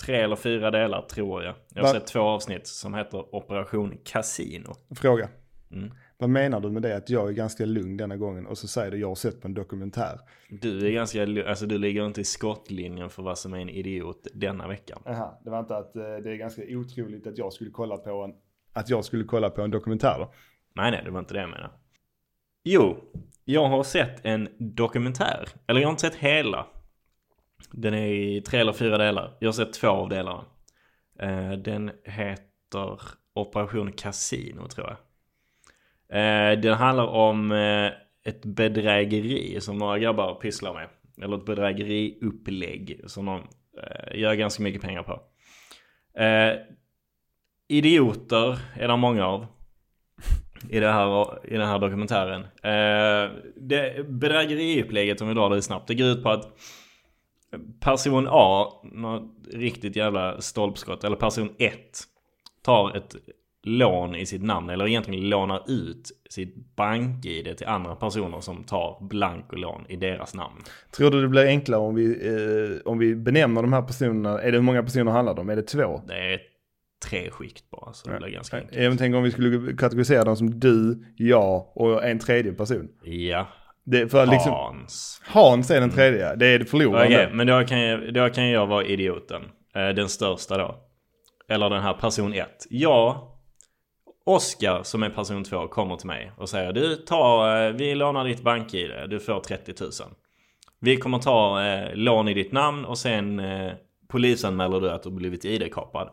[SPEAKER 1] tre eller fyra delar tror jag. Jag har
[SPEAKER 2] Va?
[SPEAKER 1] sett två avsnitt som heter Operation Casino.
[SPEAKER 2] Fråga.
[SPEAKER 1] Mm.
[SPEAKER 2] Vad menar du med det att jag är ganska lugn denna gången och så säger du jag har sett på en dokumentär?
[SPEAKER 1] Du är ganska, lu- alltså du ligger inte i skottlinjen för vad som är en idiot denna veckan.
[SPEAKER 2] Aha, det var inte att eh, det är ganska otroligt att jag skulle kolla på en... Att jag skulle kolla på en dokumentär då?
[SPEAKER 1] Nej, nej, det var inte det jag menade. Jo, jag har sett en dokumentär. Eller jag har inte sett hela. Den är i tre eller fyra delar. Jag har sett två av delarna. Eh, Den heter Operation Casino, tror jag. Eh, Den handlar om eh, ett bedrägeri som några grabbar pysslar med. Eller ett bedrägeriupplägg som de eh, gör ganska mycket pengar på. Eh, Idioter är det många av i, det här, i den här dokumentären. Eh, det bedrägeriupplägget, om vi drar det snabbt, det går ut på att person A, något riktigt jävla stolpskott, eller person 1, tar ett lån i sitt namn, eller egentligen lånar ut sitt bank-id till andra personer som tar blankolån i deras namn.
[SPEAKER 2] Tror du det blir enklare om vi, eh, om vi benämner de här personerna? Är det hur många personer handlar det om? Är det två?
[SPEAKER 1] Det är tre skikt bara, så det blir ganska enkelt.
[SPEAKER 2] Även tänk om vi skulle kategorisera dem som du, jag och en tredje person.
[SPEAKER 1] Ja,
[SPEAKER 2] Det, för liksom,
[SPEAKER 1] Hans.
[SPEAKER 2] Hans är den tredje, det är det förlorande.
[SPEAKER 1] Mm. Okej, men då kan, jag, då kan jag vara idioten. Eh, Den största då. Eller den här person 1. Jag, Oskar som är person 2, kommer till mig och säger du, ta, eh, vi lånar ditt bank-id, du får 30 000. Vi kommer ta eh, lån i ditt namn och sen eh, polisanmäler du att du har blivit id-kapad.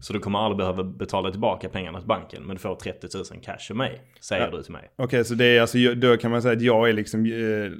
[SPEAKER 1] Så du kommer aldrig behöva betala tillbaka pengarna till banken men du får 30 000 cash av mig, säger
[SPEAKER 2] Ja.
[SPEAKER 1] du till mig.
[SPEAKER 2] Okej, så det är alltså, då kan man säga att jag är liksom eh,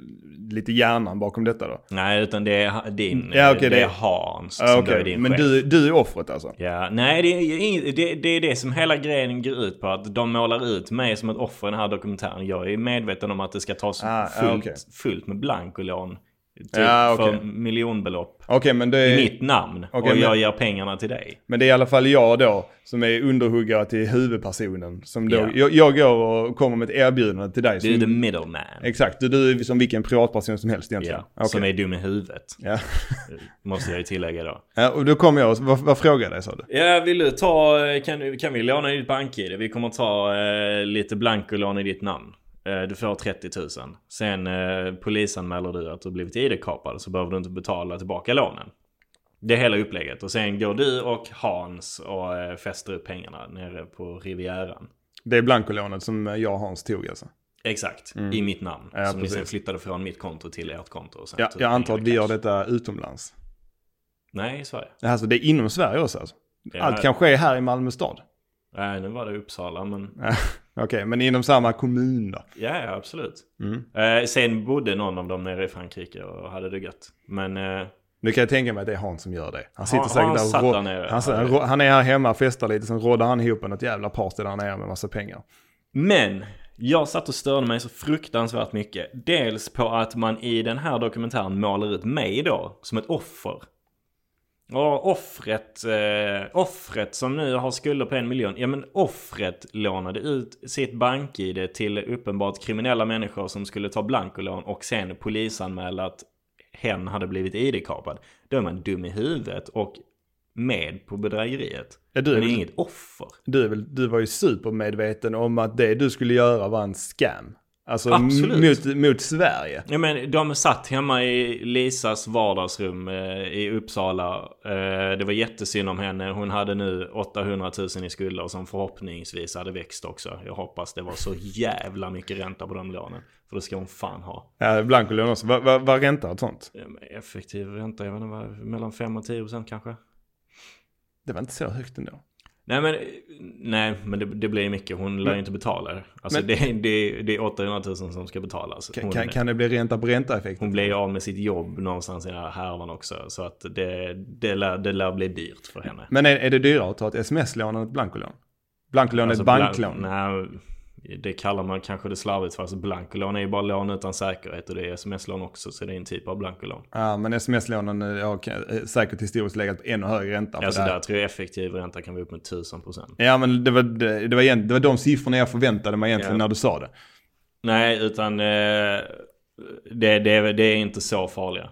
[SPEAKER 2] lite hjärnan bakom detta då.
[SPEAKER 1] Nej, utan det är ha- din,
[SPEAKER 2] Ja, okej,
[SPEAKER 1] det,
[SPEAKER 2] det-
[SPEAKER 1] är Hans som
[SPEAKER 2] Ja,
[SPEAKER 1] då
[SPEAKER 2] okej.
[SPEAKER 1] är din
[SPEAKER 2] Men
[SPEAKER 1] chef.
[SPEAKER 2] du, du är offret alltså?
[SPEAKER 1] Ja, nej det är, ju inget, det, det är det som hela grejen går ut på. Att de målar ut mig som ett offer i den här dokumentären. Jag är medveten om att det ska tas
[SPEAKER 2] Ah, ja,
[SPEAKER 1] fullt,
[SPEAKER 2] okej.
[SPEAKER 1] fullt med blankolån Typ
[SPEAKER 2] Ja, okej.
[SPEAKER 1] för miljonbelopp.
[SPEAKER 2] Okej, men det
[SPEAKER 1] I
[SPEAKER 2] är,
[SPEAKER 1] mitt namn.
[SPEAKER 2] Okej,
[SPEAKER 1] och jag
[SPEAKER 2] men-
[SPEAKER 1] ger pengarna till dig.
[SPEAKER 2] men det är i alla fall jag då som är underhuggare till huvudpersonen. Som då,
[SPEAKER 1] Ja.
[SPEAKER 2] jag, jag går och kommer med ett erbjudande till dig.
[SPEAKER 1] Du är the
[SPEAKER 2] Som,
[SPEAKER 1] middleman.
[SPEAKER 2] exakt, du, du är som vilken privatperson som helst egentligen.
[SPEAKER 1] Ja,
[SPEAKER 2] Okej.
[SPEAKER 1] Som är dum i huvudet.
[SPEAKER 2] Ja.
[SPEAKER 1] Måste jag ju tillägga då.
[SPEAKER 2] ja, och då kommer jag och, vad, vad frågar jag dig sa du?
[SPEAKER 1] Ja, vill du ta, eh, kan, du- kan vi låna ditt bank-id? Vi kommer ta eh, lite blankolån i ditt namn. Eh, du får 30 000. Sen eh, polisanmäler du att du har blivit id-kapad så behöver du inte betala tillbaka lånen. Det är hela upplägget. Och sen går du och Hans och eh, fäster upp pengarna nere på Rivieran.
[SPEAKER 2] Det är blankolånet som jag och Hans tog alltså.
[SPEAKER 1] Exakt,
[SPEAKER 2] Mm.
[SPEAKER 1] i mitt namn.
[SPEAKER 2] Ja,
[SPEAKER 1] som ni sen
[SPEAKER 2] precis.
[SPEAKER 1] flyttade från mitt konto till ert konto. Och sen
[SPEAKER 2] Ja,
[SPEAKER 1] tog
[SPEAKER 2] jag antar att
[SPEAKER 1] pengarna
[SPEAKER 2] vi
[SPEAKER 1] i
[SPEAKER 2] gör
[SPEAKER 1] cash.
[SPEAKER 2] detta utomlands.
[SPEAKER 1] Nej, i Sverige.
[SPEAKER 2] Alltså det är inom Sverige också alltså.
[SPEAKER 1] Ja.
[SPEAKER 2] Allt kan ske här i Malmö stad.
[SPEAKER 1] Nej, nu var det Uppsala, men
[SPEAKER 2] Okej, men inom samma kommun då?
[SPEAKER 1] ja, ja absolut.
[SPEAKER 2] Mm.
[SPEAKER 1] Eh, sen bodde någon av dem nere i Frankrike och hade det gött. Men eh,
[SPEAKER 2] Nu kan jag tänka mig att det är han som gör det. Han sitter
[SPEAKER 1] Hans
[SPEAKER 2] säkert
[SPEAKER 1] satt
[SPEAKER 2] där och
[SPEAKER 1] där
[SPEAKER 2] rå-
[SPEAKER 1] nere.
[SPEAKER 2] han, satt- han, rå- han är här hemma och festar lite, sen råddar han ihop något jävla party där han är med massa pengar.
[SPEAKER 1] Men jag satt och störde mig så fruktansvärt mycket. Dels på att man i den här dokumentären målar ut mig då som ett offer. Och offret, eh, offret som nu har skulder på en miljon. Ja men offret lånade ut sitt bank-id till uppenbart kriminella människor som skulle ta blankolån och sen polisanmäla att hen hade blivit id-kapad. Då är man dum i huvudet och med på bedrägeriet.
[SPEAKER 2] Ja, du, är
[SPEAKER 1] Men det är
[SPEAKER 2] väl,
[SPEAKER 1] inget offer.
[SPEAKER 2] du, är väl, du var ju supermedveten om att det du skulle göra var en scam. Alltså m-
[SPEAKER 1] Absolut.
[SPEAKER 2] mot, mot Sverige.
[SPEAKER 1] Ja, men de satt hemma i Lisas vardagsrum eh, i Uppsala. Eh, det var jättesynd om henne. Hon hade nu 800 000 i skulder som förhoppningsvis hade växt också. Jag hoppas det var så jävla mycket ränta på de lånen. För det ska hon fan ha.
[SPEAKER 2] Ja, Blancolån också. Vad va, vad räntar ett sånt?
[SPEAKER 1] Eh, men Effektiv ränta, jag vet inte, vad, mellan 5 och 10 procent kanske?
[SPEAKER 2] Det var inte så högt ändå.
[SPEAKER 1] Nej men, eh, nej, men det, det blir mycket. Hon lär ju inte betala det. Alltså
[SPEAKER 2] Men-
[SPEAKER 1] det, det, det är 800 000 som ska betalas.
[SPEAKER 2] Kan,
[SPEAKER 1] Hon-
[SPEAKER 2] kan, kan det bli ränta på ränta-effekt?
[SPEAKER 1] Hon blev ju av med sitt jobb någonstans i den här härvan också. Så att det, det, lär, det lär bli dyrt för henne.
[SPEAKER 2] Men är, är det dyrare att ta ett sms-lån än ett blankolån? Blankolån
[SPEAKER 1] Alltså,
[SPEAKER 2] är ett banklån.
[SPEAKER 1] Blan, nej, det kallar man kanske det slarvigt för. Alltså blankolån är ju bara lån utan säkerhet och det är sms-lån också. Så det är en typ av blankolån.
[SPEAKER 2] Ja, men sms-lånen eh, har k- eh, säkert historiskt legat på ännu högre ränta. för
[SPEAKER 1] alltså
[SPEAKER 2] det här-
[SPEAKER 1] där tror jag effektiv ränta kan vara upp mot 1000 procent.
[SPEAKER 2] Ja, men det var, det, det, var, egent- det var de siffrorna jag förväntade mig egentligen
[SPEAKER 1] Ja.
[SPEAKER 2] när du sa det.
[SPEAKER 1] Nej, utan eh, det, det, det är inte så farliga.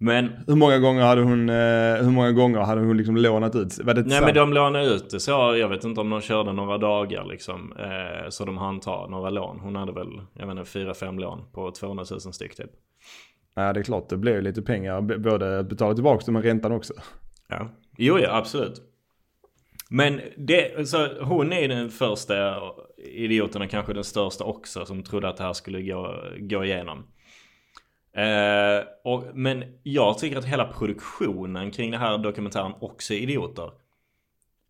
[SPEAKER 1] Men
[SPEAKER 2] Hur många gånger hade hon, eh, hur många gånger hade hon liksom lånat ut? Var det
[SPEAKER 1] Nej men de lånade ut det så. Jag vet inte om de körde några dagar liksom. Eh, så de hann ta några lån. Hon hade väl, jag vet inte, fyra, fem lån på 200 000 styck typ.
[SPEAKER 2] Ja, det är klart. Det blev ju lite pengar. b- Både att betala tillbaka det, men räntan också.
[SPEAKER 1] Ja. Jo, ja absolut. Men det, så hon är den första idioten och kanske den största också som trodde att det här skulle gå, gå igenom. Eh, och, men jag tycker att hela produktionen kring den här dokumentären också är idioter.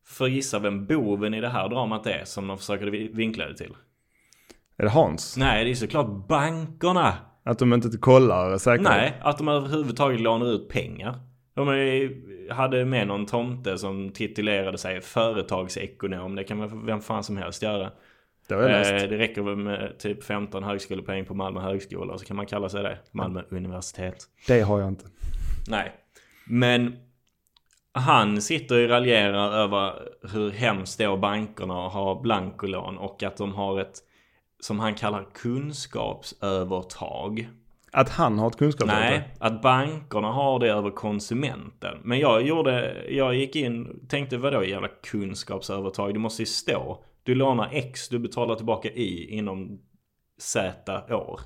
[SPEAKER 1] För gissa vem boven i det här dramat är som de försöker vi- vinkla det till.
[SPEAKER 2] Är det Hans?
[SPEAKER 1] Nej, det är såklart bankerna.
[SPEAKER 2] Att de inte kollar säkert?
[SPEAKER 1] Nej, att de överhuvudtaget lånar ut pengar. De är- hade med någon tomte som titulerade sig företagsekonom. Det kan väl vem fan som helst göra.
[SPEAKER 2] Det har jag läst.
[SPEAKER 1] Eh, det räcker väl med typ 15 högskolepoäng på Malmö högskola och så kan man kalla sig det. Malmö universitet.
[SPEAKER 2] Det har jag inte.
[SPEAKER 1] Nej. Men han sitter och raljerar över hur hemskt det är att bankerna har blankolån och att de har ett, som han kallar kunskapsövertag.
[SPEAKER 2] Att han har ett kunskapsövertag?
[SPEAKER 1] Nej, att bankerna har det över konsumenten. Men jag gjorde, jag gick in, tänkte vadå jävla kunskapsövertag? Det måste ju stå. Du lånar X, du betalar tillbaka Y inom Z år.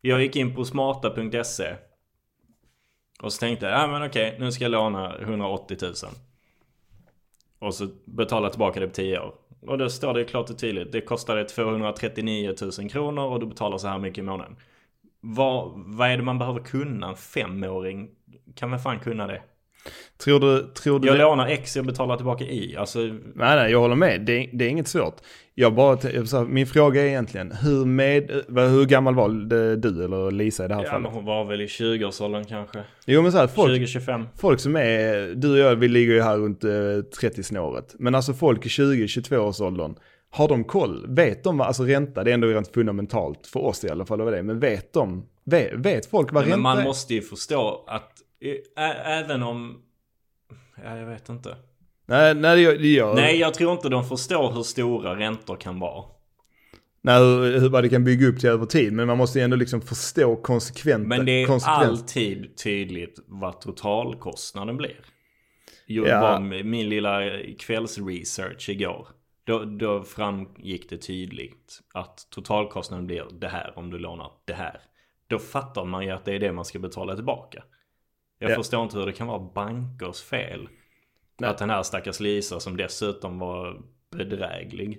[SPEAKER 1] Jag gick in på smarta.se E. och så tänkte jag, ah, men okej, nu ska jag låna 180 000. Och så betala tillbaka det på 10 år. Och då står det klart och tydligt, det kostade 239 000 kronor och du betalar så här mycket i månaden. Vad, vad är det man behöver kunna? En femåring kan väl fan kunna det?
[SPEAKER 2] Tror du... Tror du
[SPEAKER 1] Jag
[SPEAKER 2] det-
[SPEAKER 1] lånar X, jag betalar tillbaka Y. Alltså,
[SPEAKER 2] Nej, nej, jag håller med. Det, det är inget svårt. Jag bara, t- jag, så här, min fråga är egentligen, hur, med, vad- hur gammal var det, du eller Lisa i det här
[SPEAKER 1] ja, men
[SPEAKER 2] fallet?
[SPEAKER 1] hon var väl i 20-årsåldern kanske.
[SPEAKER 2] Jo, men så här, folk,
[SPEAKER 1] 20-25.
[SPEAKER 2] folk som är, du och jag, vi ligger ju här runt eh, 30-snåret. Men alltså folk i 20-22-årsåldern, har de koll? Vet de vad, alltså ränta, det är ändå rent fundamentalt för oss i alla fall, vad det är. Men vet de, Vet, vet folk vad
[SPEAKER 1] Men
[SPEAKER 2] ränta
[SPEAKER 1] man
[SPEAKER 2] är?
[SPEAKER 1] måste ju förstå att ä- ä- även om... Ja, jag vet inte.
[SPEAKER 2] Nej, nej det gör- det gör
[SPEAKER 1] Nej, jag tror inte de förstår hur stora räntor kan vara.
[SPEAKER 2] Nej, hur, hur man kan bygga upp till över tid. Men man måste ju ändå liksom förstå konsekvent.
[SPEAKER 1] Men det är
[SPEAKER 2] konsekvens.
[SPEAKER 1] alltid tydligt vad totalkostnaden blir. Jo,
[SPEAKER 2] Ja.
[SPEAKER 1] bara med min lilla kvällsresearch igår. Då, då framgick det tydligt att totalkostnaden blir det här om du lånar det här. Då fattar man ju att det är det man ska betala tillbaka. Jag
[SPEAKER 2] Ja.
[SPEAKER 1] förstår inte hur det kan vara bankers fel.
[SPEAKER 2] Nej.
[SPEAKER 1] Att den här stackars Lisa som dessutom var bedräglig.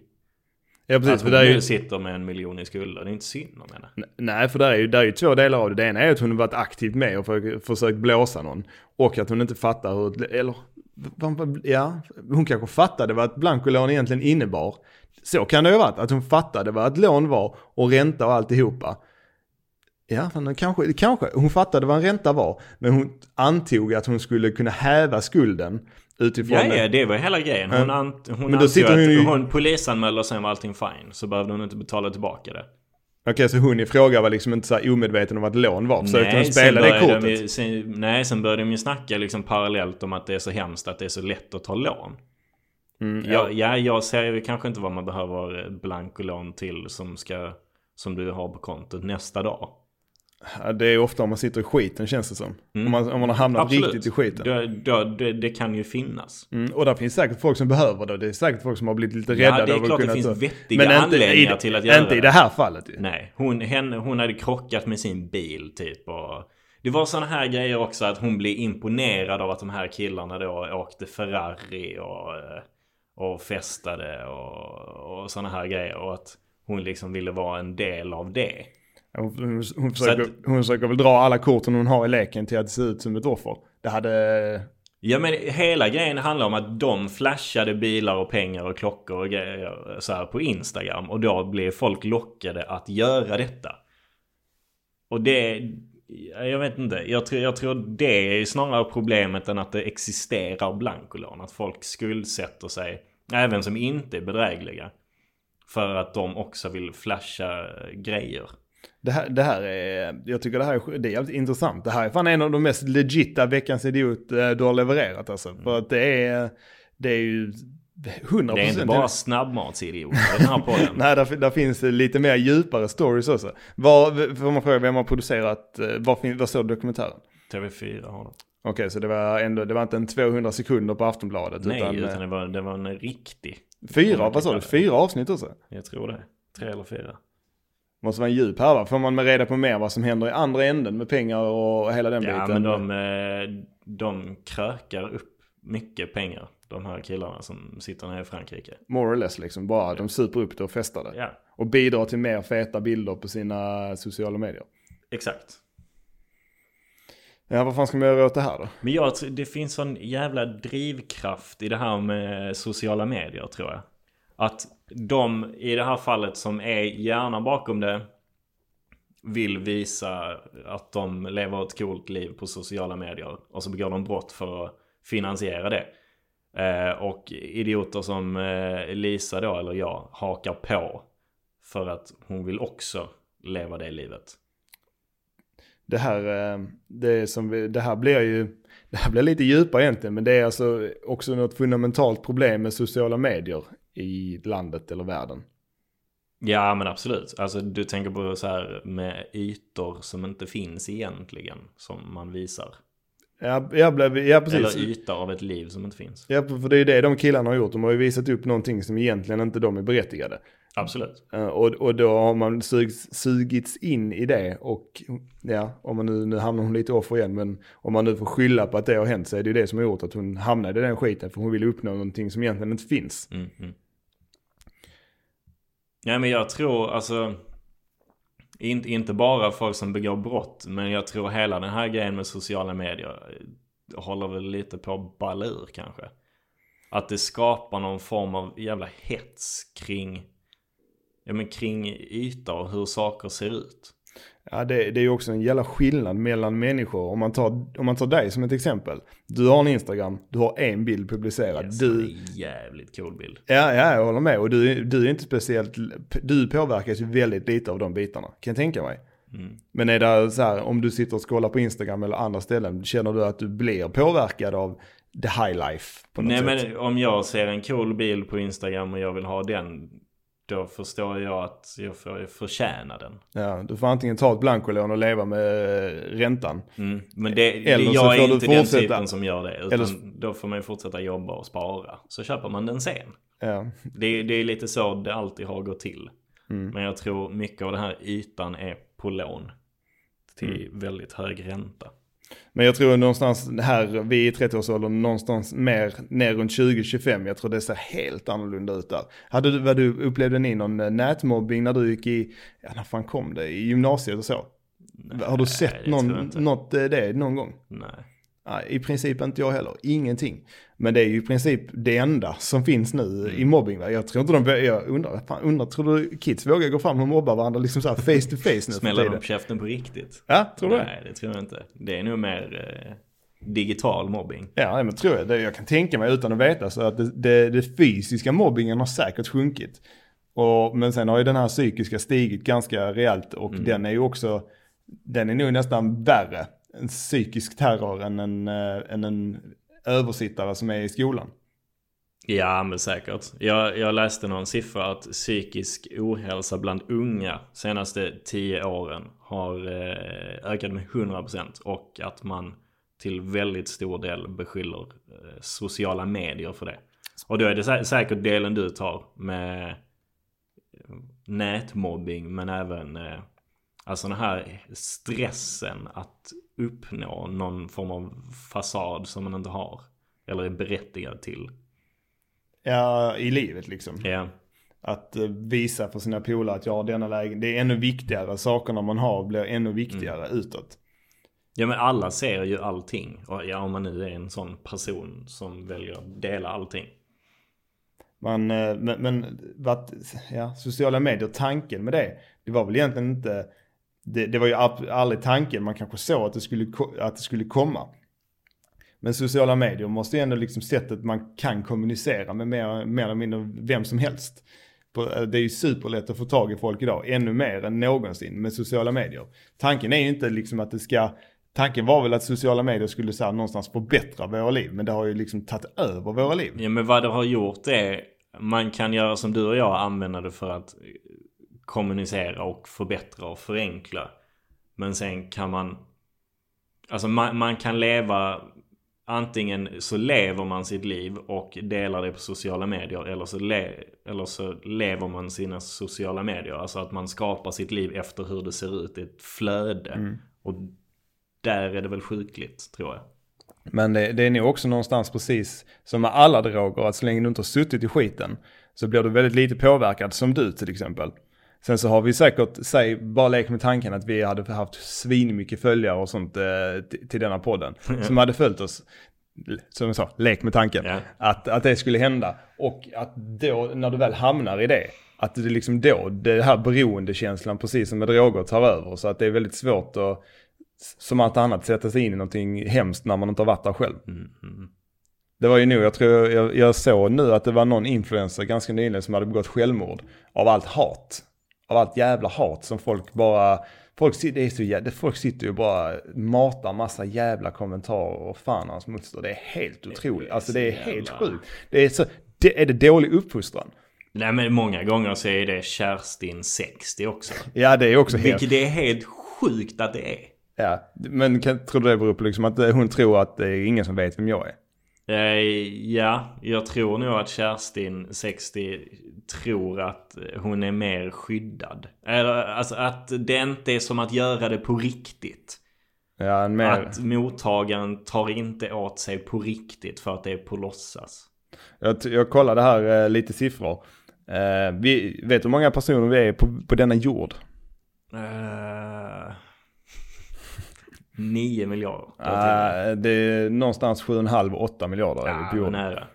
[SPEAKER 2] Ja, precis.
[SPEAKER 1] att
[SPEAKER 2] För
[SPEAKER 1] hon
[SPEAKER 2] där är
[SPEAKER 1] nu
[SPEAKER 2] ju,
[SPEAKER 1] sitter med en miljon i skulder. Det är inte synd om henne.
[SPEAKER 2] nej, för där är ju, där är ju två delar av det. Det ena är ju att hon har varit aktivt med och för, försökt blåsa någon. Och att hon inte fattar hur... Eller, vad- vad- ja, hon kanske fattade vad ett blankolån egentligen innebar. Så kan det ju ha varit. Att hon fattade vad ett lån var och ränta och alltihopa. Ja, men kanske, kanske. Hon fattade vad en ränta var. Men hon antog att hon skulle kunna häva skulden utifrån...
[SPEAKER 1] Ja, ja, det var hela grejen. Hon,
[SPEAKER 2] Ja.
[SPEAKER 1] ant, hon
[SPEAKER 2] då
[SPEAKER 1] antog
[SPEAKER 2] sitter
[SPEAKER 1] att
[SPEAKER 2] hon
[SPEAKER 1] hon,
[SPEAKER 2] ju-
[SPEAKER 1] polisanmälde och sen var allting fine. Så behövde hon inte betala tillbaka det.
[SPEAKER 2] Okej, så hon i fråga var liksom inte så här omedveten om att lån var. Försökte hon
[SPEAKER 1] sen
[SPEAKER 2] spela det
[SPEAKER 1] började
[SPEAKER 2] kortet?
[SPEAKER 1] de ju, sen, nej, sen började de ju snacka liksom parallellt om att det är så hemskt att det är så lätt att ta lån.
[SPEAKER 2] Mm, ja.
[SPEAKER 1] Ja, ja jag ser ju kanske inte vad man behöver blankolån till som, ska, som du har på kontot nästa dag.
[SPEAKER 2] Ja, Det är ofta om man sitter i skiten känns det som.
[SPEAKER 1] Mm.
[SPEAKER 2] Om, man, om man har hamnat riktigt i skiten.
[SPEAKER 1] Då, då, det, det kan ju finnas.
[SPEAKER 2] Mm, och där finns säkert folk som behöver det. Det är säkert folk som har blivit lite rädda.
[SPEAKER 1] Ja, det
[SPEAKER 2] över
[SPEAKER 1] är
[SPEAKER 2] att
[SPEAKER 1] klart det
[SPEAKER 2] kunna
[SPEAKER 1] finns
[SPEAKER 2] ta-
[SPEAKER 1] vettiga anledningar
[SPEAKER 2] i,
[SPEAKER 1] till att göra
[SPEAKER 2] Inte i det här fallet ju.
[SPEAKER 1] Nej, hon, henne, hon hade krockat med sin bil typ och Det var sådana här grejer också att hon blev imponerad av att de här killarna då åkte Ferrari och, eh, och festade och, och sådana här grejer och att hon liksom ville vara en del av det.
[SPEAKER 2] Hon, hon, hon, försöker,
[SPEAKER 1] att-
[SPEAKER 2] hon försöker väl dra alla korten hon har i leken till att se ut som ett offer. Det hade...
[SPEAKER 1] Ja men hela grejen handlar om att de flashade bilar och pengar och klockor och grejer så här på Instagram. Och då blev folk lockade att göra detta. Och det... Jag vet inte. Jag tror, jag tror det är ju snarare problemet än att det existerar blankolån. Att folk skuldsätter sig, även som inte är bedrägliga. För att de också vill flasha grejer.
[SPEAKER 2] Det här, det här är, jag tycker det här är, det är jävligt intressant. Det här är fan en av de mest legita veckans idiot eh, du har levererat alltså. För att det är, det är ju 100%
[SPEAKER 1] Mm. Det är inte bara snabbmatsidioter i den här podden.
[SPEAKER 2] Nej, där, där finns eh, lite mer djupare stories också. Vad, får man fråga vem har producerat, eh, vad, fin- vad står det i dokumentären?
[SPEAKER 1] TV4 har de.
[SPEAKER 2] Okej, så det var ändå, det var inte en 200 sekunder på Aftonbladet.
[SPEAKER 1] Nej,
[SPEAKER 2] eh,
[SPEAKER 1] utan det var, det var en riktig.
[SPEAKER 2] fyra, vad sa du? Fyra avsnitt också?
[SPEAKER 1] Jag tror det. Tre eller fyra.
[SPEAKER 2] Måste vara en djup härva. Får man reda på mer vad som händer i andra änden med pengar och hela den
[SPEAKER 1] Ja, men
[SPEAKER 2] biten?
[SPEAKER 1] de, eh, de krökar upp mycket pengar. De här killarna som sitter nere i Frankrike.
[SPEAKER 2] More or less liksom, bara de super upp det och festar det.
[SPEAKER 1] Ja,
[SPEAKER 2] Och bidrar till mer feta bilder på sina sociala medier.
[SPEAKER 1] exakt.
[SPEAKER 2] Ja, vad fan ska man göra åt det här då?
[SPEAKER 1] Men jag tror det finns sån jävla drivkraft i det här med sociala medier tror jag. Att de i det här fallet som är hjärnan bakom det vill visa att de lever ett coolt liv på sociala medier och så begår de brott för att finansiera det. Eh, och idioter som eh, Lisa då, eller jag, hakar på för att hon vill också leva det livet.
[SPEAKER 2] Det här, eh, det, som vi, det här blir ju det här blir lite djupare egentligen, men det är alltså också något fundamentalt problem med sociala medier i landet eller världen.
[SPEAKER 1] Ja men absolut. Alltså du tänker på så här med ytor som inte finns egentligen som man visar.
[SPEAKER 2] Ja, jag blev, ja precis.
[SPEAKER 1] Eller yta av ett liv som inte finns.
[SPEAKER 2] Ja, för det är ju det de killarna har gjort. De har ju visat upp någonting som egentligen inte de är berättigade.
[SPEAKER 1] Absolut.
[SPEAKER 2] Eh, Och, och då har man sug, sugits in i det och ja, om man nu, nu hamnar hon lite offer igen men om man nu får skylla på att det har hänt så är det ju det som har gjort att hon hamnade i den skiten för hon ville uppnå någonting som egentligen inte finns.
[SPEAKER 1] Mm, mm. Nej men jag tror alltså inte, inte bara folk som begår brott men jag tror hela den här grejen med sociala medier eh, håller väl lite på att balla ur kanske. Att det skapar någon form av jävla hets kring, ja, men kring yta och hur saker ser ut.
[SPEAKER 2] Ja, det, det är ju också en jävla skillnad mellan människor. Om man, tar, om man tar dig som ett exempel. Du har en Instagram, du har en bild publicerad.
[SPEAKER 1] Yes, det är
[SPEAKER 2] Du,
[SPEAKER 1] en jävligt cool bild.
[SPEAKER 2] ja, ja, jag håller med. Och du, du är inte speciellt, du påverkas ju väldigt lite av de bitarna. Kan jag tänka mig.
[SPEAKER 1] Mm.
[SPEAKER 2] Men är det så här, om du sitter och scrollar på Instagram eller andra ställen, känner du att du blir påverkad av the high life på något
[SPEAKER 1] Nej
[SPEAKER 2] sätt?
[SPEAKER 1] men om jag ser en cool bil på Instagram och jag vill ha den. Då förstår jag att jag får förtjäna den.
[SPEAKER 2] Ja, du får antingen ta ett blankolån och leva med eh, räntan.
[SPEAKER 1] Mm. Men det, det,
[SPEAKER 2] Eller så
[SPEAKER 1] jag
[SPEAKER 2] får
[SPEAKER 1] är
[SPEAKER 2] du
[SPEAKER 1] inte den
[SPEAKER 2] fortsätta-
[SPEAKER 1] typen som gör det. Utan
[SPEAKER 2] Eller så-
[SPEAKER 1] då får man ju fortsätta jobba och spara. Så köper man den sen.
[SPEAKER 2] Ja.
[SPEAKER 1] Det, det är lite så det alltid har gått till.
[SPEAKER 2] Mm.
[SPEAKER 1] Men jag tror mycket av den här ytan är på lån. Till
[SPEAKER 2] Mm.
[SPEAKER 1] väldigt hög ränta.
[SPEAKER 2] Men jag tror någonstans här, vi i 30-årsåldern, någonstans mer ner runt 20-25, jag tror det ser helt annorlunda ut där. Hade du, vad du, upplevde ni någon eh, nätmobbing när du gick i, ja när fan kom det, i gymnasiet och så? Har du sett
[SPEAKER 1] det
[SPEAKER 2] någon,
[SPEAKER 1] tror jag inte.
[SPEAKER 2] något eh, det någon gång?
[SPEAKER 1] Nej.
[SPEAKER 2] Nej, I princip inte jag heller, ingenting. Men det är ju i princip det enda som finns nu
[SPEAKER 1] Mm.
[SPEAKER 2] i mobbing. Va? Jag tror inte de, vå- jag undrar, fan, undrar, tror du kids vågar gå fram och mobba varandra liksom så här face to face nu för
[SPEAKER 1] Smäller de
[SPEAKER 2] tiden?
[SPEAKER 1] på käften på riktigt?
[SPEAKER 2] Ja, tror du det?
[SPEAKER 1] Nej, det tror jag inte. Det är nog mer eh, digital mobbing.
[SPEAKER 2] Ja, nej, men tror jag. Det, jag kan tänka mig utan att veta så att det, det, det fysiska mobbingen har säkert sjunkit. Och, men sen har ju den här psykiska stigit ganska rejält och den är ju också, den är nog nästan värre, en psykisk terror än en, eh, än en översittare som är i skolan.
[SPEAKER 1] Ja, men säkert. Jag, jag läste någon siffra att psykisk ohälsa bland unga senaste 10 åren har eh, ökat med 100% och att man till väldigt stor del beskyller eh, sociala medier för det. Och då är det sä- säkert delen du tar med eh, nätmobbing men även eh, alltså den här stressen att uppnå någon form av fasad som man inte har eller är berättigad till.
[SPEAKER 2] Ja, i livet liksom.
[SPEAKER 1] Ja.
[SPEAKER 2] Att eh, visa för sina polare att jag har denna lägen. Det är ännu viktigare, sakerna man har blir ännu viktigare utåt.
[SPEAKER 1] Ja men alla ser ju allting. Och ja, om man nu är en sån person som väljer att dela allting.
[SPEAKER 2] Man, eh, men, men vad, ja, sociala medier, tanken med det, det var väl egentligen inte, det, det var ju ab- aldrig tanken, man kanske såg att det skulle, ko- att det skulle komma. Men sociala medier måste ju ändå liksom sättet man kan kommunicera med mer, mer eller mindre vem som helst. På- eh, Det är ju superlätt att få tag i folk idag, ännu mer än någonsin med sociala medier. Tanken är ju inte liksom att det ska, tanken var väl att sociala medier skulle så här någonstans förbättra våra liv, men det har ju liksom tagit över våra liv.
[SPEAKER 1] Ja men vad det har gjort är. Man kan göra som du och jag använda det för att eh, kommunicera och förbättra och förenkla. Men sen kan man. Alltså man, man kan leva. Antingen så lever man sitt liv och delar det på sociala medier. Eller så, le, eller så lever man sina sociala medier. Alltså att man skapar sitt liv efter hur det ser ut. i ett flöde. Och där är det väl sjukligt tror jag.
[SPEAKER 2] Men det, det är nog också någonstans precis som med alla droger, att så länge du inte har suttit i skiten så blir du väldigt lite påverkad, som du till exempel. Sen så har vi säkert, säg, bara lek med tanken att vi hade haft svinmycket följare och sånt eh, till, till denna podden som hade följt oss. Som jag sa, lek med tanken.
[SPEAKER 1] Ja.
[SPEAKER 2] Att, att det skulle hända. Och att då, när du väl hamnar i det, att det liksom då, det här beroendekänslan precis som med droger tar över. Så att det är väldigt svårt att som allt annat sätta sig in i någonting hemskt när man inte har varit där själv. Det var ju nog, jag tror jag, jag såg nu att det var någon influencer ganska nyligen som hade begått självmord av allt hat. Av allt jävla hat som folk bara, folk, sit- det är så jävla, folk sitter ju och bara matar massa jävla kommentarer och fan hans moster. Det är helt otroligt, alltså det är helt
[SPEAKER 1] jävla-
[SPEAKER 2] sjukt. Det är så, det, är det dålig uppfostran?
[SPEAKER 1] Nej men många gånger så är det Kerstin 60 också.
[SPEAKER 2] Ja det är också helt,
[SPEAKER 1] Vilket det är helt sjukt att det är.
[SPEAKER 2] ja. Men kan, tror du det beror på liksom att eh, hon tror att det är ingen som vet vem jag är?
[SPEAKER 1] Eh, Ja, jag tror nog att Kerstin 60 tror att hon är mer skyddad. Eller alltså att det inte är som att göra det på riktigt.
[SPEAKER 2] Ja, en mer...
[SPEAKER 1] Att mottagaren tar inte åt sig på riktigt för att det är på låtsas.
[SPEAKER 2] Jag, t- jag kollade här eh, lite siffror. Eh, vi, vet du hur många personer vi är på, på denna jord?
[SPEAKER 1] Eh, 9 miljarder.
[SPEAKER 2] Eh, det är någonstans 7,5-8 miljarder är vi
[SPEAKER 1] ja,
[SPEAKER 2] på jorden.
[SPEAKER 1] nära.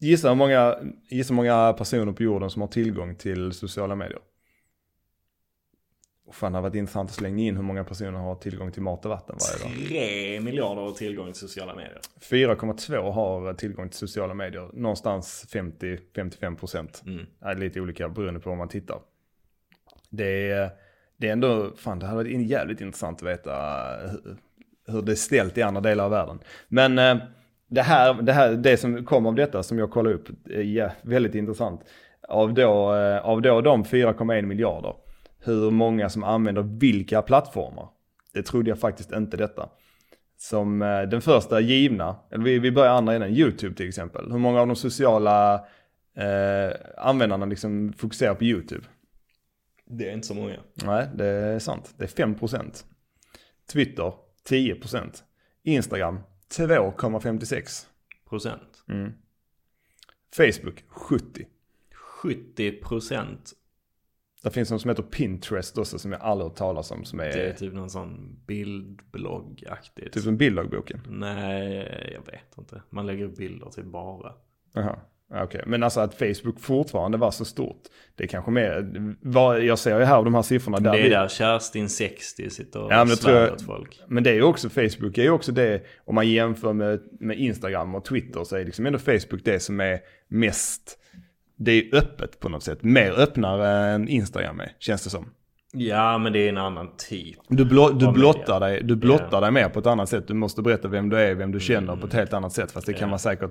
[SPEAKER 2] Gissa hur, många, gissa hur många personer på jorden som har tillgång till sociala medier. Och fan, det hade varit intressant att slänga in hur många personer har tillgång till mat och vatten varje dag.
[SPEAKER 1] 3 miljarder har tillgång till sociala medier.
[SPEAKER 2] 4,2 har tillgång till sociala medier. Någonstans 50-55 procent.
[SPEAKER 1] Mm.
[SPEAKER 2] Det är lite olika beroende på vad man tittar. Det är, det är ändå, fan det hade varit jävligt intressant att veta hur, hur det är ställt i andra delar av världen. Men eh, det här, det här, det som kom av detta som jag kollade upp, är ja, väldigt intressant. Av då, eh, av då de 4,1 miljarder, hur många som använder vilka plattformar. Det trodde jag faktiskt inte detta. Som eh, den första givna, eller vi, vi börjar andra änden, YouTube till exempel. Hur många av de sociala eh, användarna liksom fokuserar på YouTube?
[SPEAKER 1] Det är inte så många.
[SPEAKER 2] Nej, det är sant. Det är 5%. Twitter 10%. Instagram 2,56.
[SPEAKER 1] Procent.
[SPEAKER 2] Mm. Facebook 70.
[SPEAKER 1] 70 procent.
[SPEAKER 2] Det finns något som heter Pinterest också som jag aldrig hört talas om. Som är
[SPEAKER 1] Det är typ någon sån bildbloggaktigt.
[SPEAKER 2] typ som bilddagboken.
[SPEAKER 1] Nej, jag vet inte. Man lägger upp bilder till bara.
[SPEAKER 2] Jaha. Ja, Okej, men alltså att Facebook fortfarande var så stort. Det är kanske mer, vad jag ser ju här av de här siffrorna. Där
[SPEAKER 1] det är
[SPEAKER 2] vi-
[SPEAKER 1] där Kerstin 60 sitter och
[SPEAKER 2] Ja, men
[SPEAKER 1] ja,
[SPEAKER 2] det
[SPEAKER 1] svär
[SPEAKER 2] tror jag-
[SPEAKER 1] åt folk.
[SPEAKER 2] Men det är ju också, Facebook är ju också det, om man jämför med, med Instagram och Twitter så är liksom ändå Facebook det som är mest, det är öppet på något sätt. Mer öppnare än Instagram är, känns det som.
[SPEAKER 1] Ja, men det är en annan typ.
[SPEAKER 2] Du, blo- du
[SPEAKER 1] Av
[SPEAKER 2] blottar, dig, du blottar dig mer på ett annat sätt. Du måste berätta vem du är, vem du känner på ett
[SPEAKER 1] Mm.
[SPEAKER 2] helt annat sätt. Fast det kan man säkert,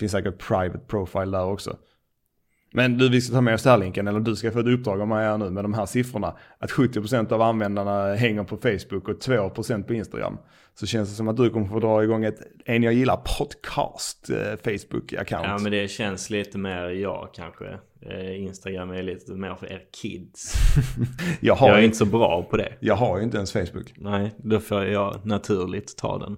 [SPEAKER 2] finns säkert private profile där också. Men du, vi ska ta med oss den här länken, eller du ska få ett uppdrag av mig här nu med de här siffrorna. Att 70% av användarna hänger på Facebook och 2% på Instagram. Så känns det som att du kommer få dra igång ett en jag gillar podcast eh, Facebook-account.
[SPEAKER 1] Ja, men det känns lite mer jag kanske. Eh, Instagram är lite mer för er kids.
[SPEAKER 2] jag, har
[SPEAKER 1] Jag är
[SPEAKER 2] ju-
[SPEAKER 1] inte så bra på det.
[SPEAKER 2] jag har ju inte ens Facebook.
[SPEAKER 1] Nej, då får jag naturligt ta den.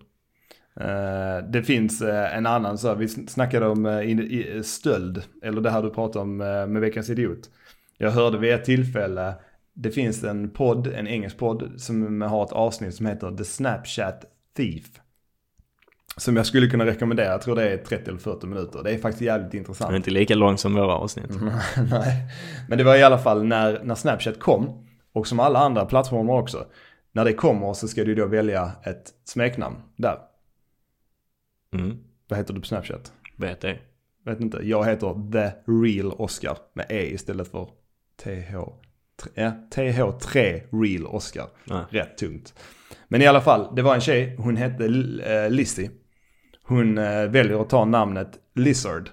[SPEAKER 2] Eh, Det finns eh, en annan, så här, vi snackade om eh, in- i- stöld, eller det här du pratade om eh, med Veckans Idiot. Jag hörde vid ett tillfälle, det finns en podd, en engelsk podd, som har ett avsnitt som heter The Snapchat Thief. Som jag skulle kunna rekommendera, jag tror det är 30 eller 40 minuter. Det är faktiskt jävligt intressant.
[SPEAKER 1] Den är inte lika lång som våra avsnitt.
[SPEAKER 2] Nej, men det var i alla fall när, när Snapchat kom och som alla andra plattformar också. När det kommer så ska du då välja ett smeknamn där.
[SPEAKER 1] Mm,
[SPEAKER 2] Vad heter du på Snapchat?
[SPEAKER 1] vet det.
[SPEAKER 2] Vet inte. Jag heter The Real Oscar med E istället för TH. tre- Ja, TH3 Real Oscar.
[SPEAKER 1] Ja.
[SPEAKER 2] Rätt tungt. Men i alla fall, det var en tjej. Hon hette L- eh, Lizzie. Hon eh, väljer att ta namnet Lizard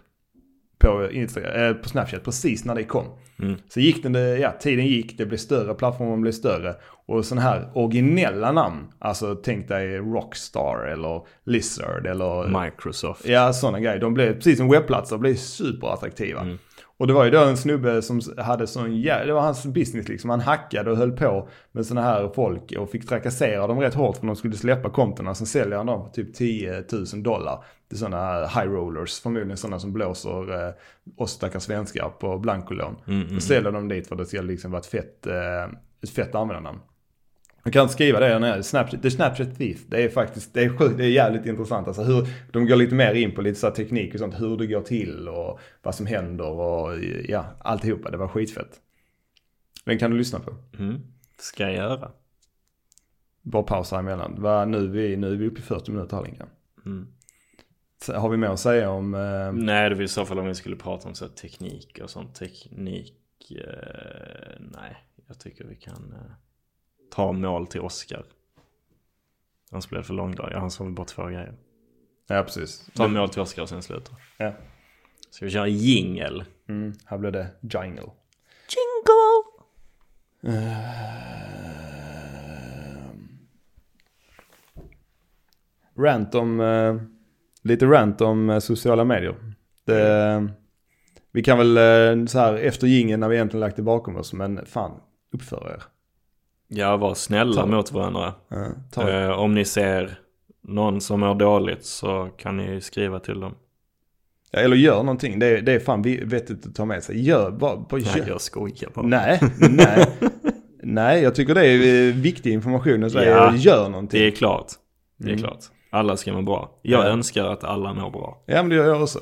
[SPEAKER 2] på, Instagram, eh, på Snapchat precis när det kom.
[SPEAKER 1] Mm.
[SPEAKER 2] Så gick den, det- ja, tiden gick, det blev större, plattformen blev större. Och sådana här originella namn, alltså tänk dig Rockstar eller Lizard eller
[SPEAKER 1] Microsoft.
[SPEAKER 2] Ja, sådana grejer. De blev, precis som webbplatser, blev superattraktiva. Och det var ju då en snubbe som hade sån jä- det var hans business liksom. Han hackade och höll på med sådana här folk och fick trakassera dem rätt hårt för de skulle släppa kontona. Sen säljer han dem för typ 10 000 dollar till sådana här high rollers. Förmodligen sådana som blåser eh, oss stackars svenskar på blankolån. Och säljer dem dit för att det ska liksom vara ett fett, eh, ett fett användarnamn. Man kan inte skriva det när Snapchat, The Snapchat Thief. Det är faktiskt, det är sjukt, det är jävligt intressant. Alltså hur, de går lite mer in på lite så här teknik och sånt, hur det går till och vad som händer och ja, alltihopa. Det var skitfett. Den kan du lyssna på.
[SPEAKER 1] Mm. Ska jag göra.
[SPEAKER 2] Bara pausa emellan. Va, nu, är vi, nu är vi uppe i 40 minuter här Linkan.
[SPEAKER 1] Mm.
[SPEAKER 2] Så Har vi mer att säga om... Eh,
[SPEAKER 1] Nej, det var i så fall om vi skulle prata om så här teknik och sånt. Teknik, eh, nej. Jag tycker vi kan eh, ta mål till Oscar. Han spelade för långdrag. Han sa väl bara två grejer.
[SPEAKER 2] ja, precis.
[SPEAKER 1] Ta mål till Oscar och sen sluta.
[SPEAKER 2] Ja.
[SPEAKER 1] Ska vi köra jingel?
[SPEAKER 2] Mm, här blev det jingle.
[SPEAKER 1] Jingle!
[SPEAKER 2] Eh, Rant om, eh, lite rant om eh, sociala medier. Det, eh, vi kan väl eh, så här efter jingeln när vi egentligen lagt det bakom oss, men fan, uppför er.
[SPEAKER 1] Ja, var snälla
[SPEAKER 2] Ta-
[SPEAKER 1] mot varandra.
[SPEAKER 2] Eh, ta,
[SPEAKER 1] Eh, om ni ser någon som mår dåligt så kan ni skriva till dem.
[SPEAKER 2] Ja, Eller gör någonting, det, är- det är fan vi- vettigt att ta med sig. Gör, bara, bara
[SPEAKER 1] Nej,
[SPEAKER 2] gör.
[SPEAKER 1] jag skojar bara.
[SPEAKER 2] Nej, nej. Nej, jag tycker det är eh, viktig information att säga.
[SPEAKER 1] Ja.
[SPEAKER 2] Gör någonting.
[SPEAKER 1] Det är klart. Det är
[SPEAKER 2] Mm.
[SPEAKER 1] klart. Alla ska må bra. Jag
[SPEAKER 2] Ja.
[SPEAKER 1] önskar att alla mår bra.
[SPEAKER 2] Ja, men det gör jag också.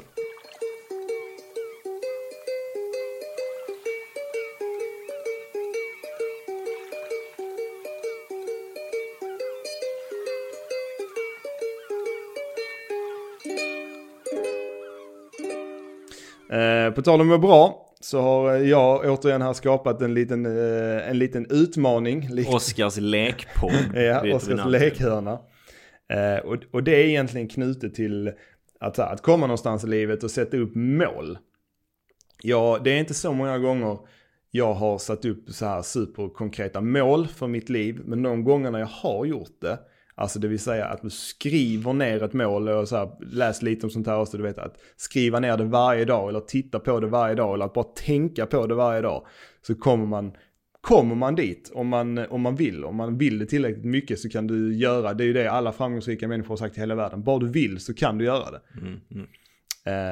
[SPEAKER 2] Eh, på tal om att må bra så har jag återigen här skapat en liten, eh, en liten utmaning. likt-
[SPEAKER 1] Oscars lekpodd. vet vi
[SPEAKER 2] ja, Oskars
[SPEAKER 1] namnet.
[SPEAKER 2] lekhörna. Eh, och, och det är egentligen knutet till att, så här, att komma någonstans i livet och sätta upp mål. Ja, det är inte så många gånger jag har satt upp så här superkonkreta mål för mitt liv, men de gångerna jag har gjort det, alltså det vill säga att du skriver ner ett mål och så här, läs lite om sånt här också, du vet att skriva ner det varje dag eller titta på det varje dag eller att bara tänka på det varje dag, så kommer man Kommer man dit om man, om man vill, om man vill det tillräckligt mycket så kan du göra, det är ju det alla framgångsrika människor har sagt i hela världen, bara du vill så kan du göra det.
[SPEAKER 1] Mm, mm.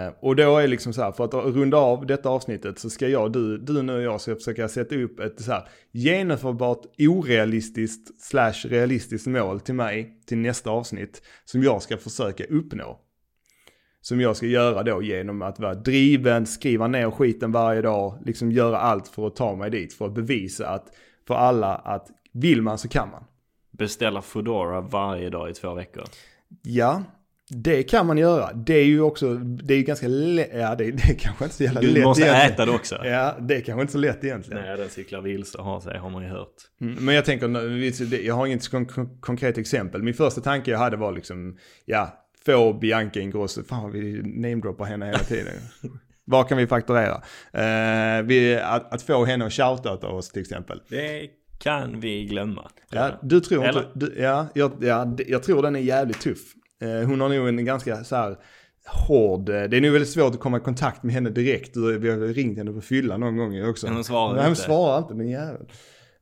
[SPEAKER 2] Eh, och då är liksom så här, för att runda av detta avsnittet så ska jag, du, du nu och jag ska försöka sätta upp ett så här genomförbart orealistiskt slash realistiskt mål till mig till nästa avsnitt som jag ska försöka uppnå. Som jag ska göra då genom att vara driven, skriva ner skiten varje dag, liksom göra allt för att ta mig dit, för att bevisa att för alla att vill man så kan man.
[SPEAKER 1] Beställa Foodora varje dag i två veckor.
[SPEAKER 2] Ja, det kan man göra. Det är ju också, det är ju ganska lätt, ja det, det är kanske inte så jävla lätt
[SPEAKER 1] Du måste
[SPEAKER 2] egentligen.
[SPEAKER 1] äta det också.
[SPEAKER 2] Ja, det är kanske inte så lätt egentligen.
[SPEAKER 1] Nej, den cyklar vilse och har sig har man ju hört.
[SPEAKER 2] Mm, Men jag tänker, nu, vi- det- jag har inget kon- kon- konkret exempel. Min första tanke jag hade var liksom, ja, få Bianca Ingrosso, fan vad vi namedroppar henne hela tiden. Vad kan vi fakturera? Eh, vi, att, att få henne att shoutouta oss till exempel.
[SPEAKER 1] Det kan vi glömma.
[SPEAKER 2] Ja, du tror inte,
[SPEAKER 1] Eller?
[SPEAKER 2] du, ja, jag, ja, d- jag tror den är jävligt tuff. Eh, hon har nog en ganska så här hård, eh, det är nog väldigt svårt att komma i kontakt med henne direkt. Du, vi har väl ringt henne på fylla någon gång också.
[SPEAKER 1] Men hon svarar
[SPEAKER 2] Nej, hon
[SPEAKER 1] inte.
[SPEAKER 2] svarar inte den jäveln.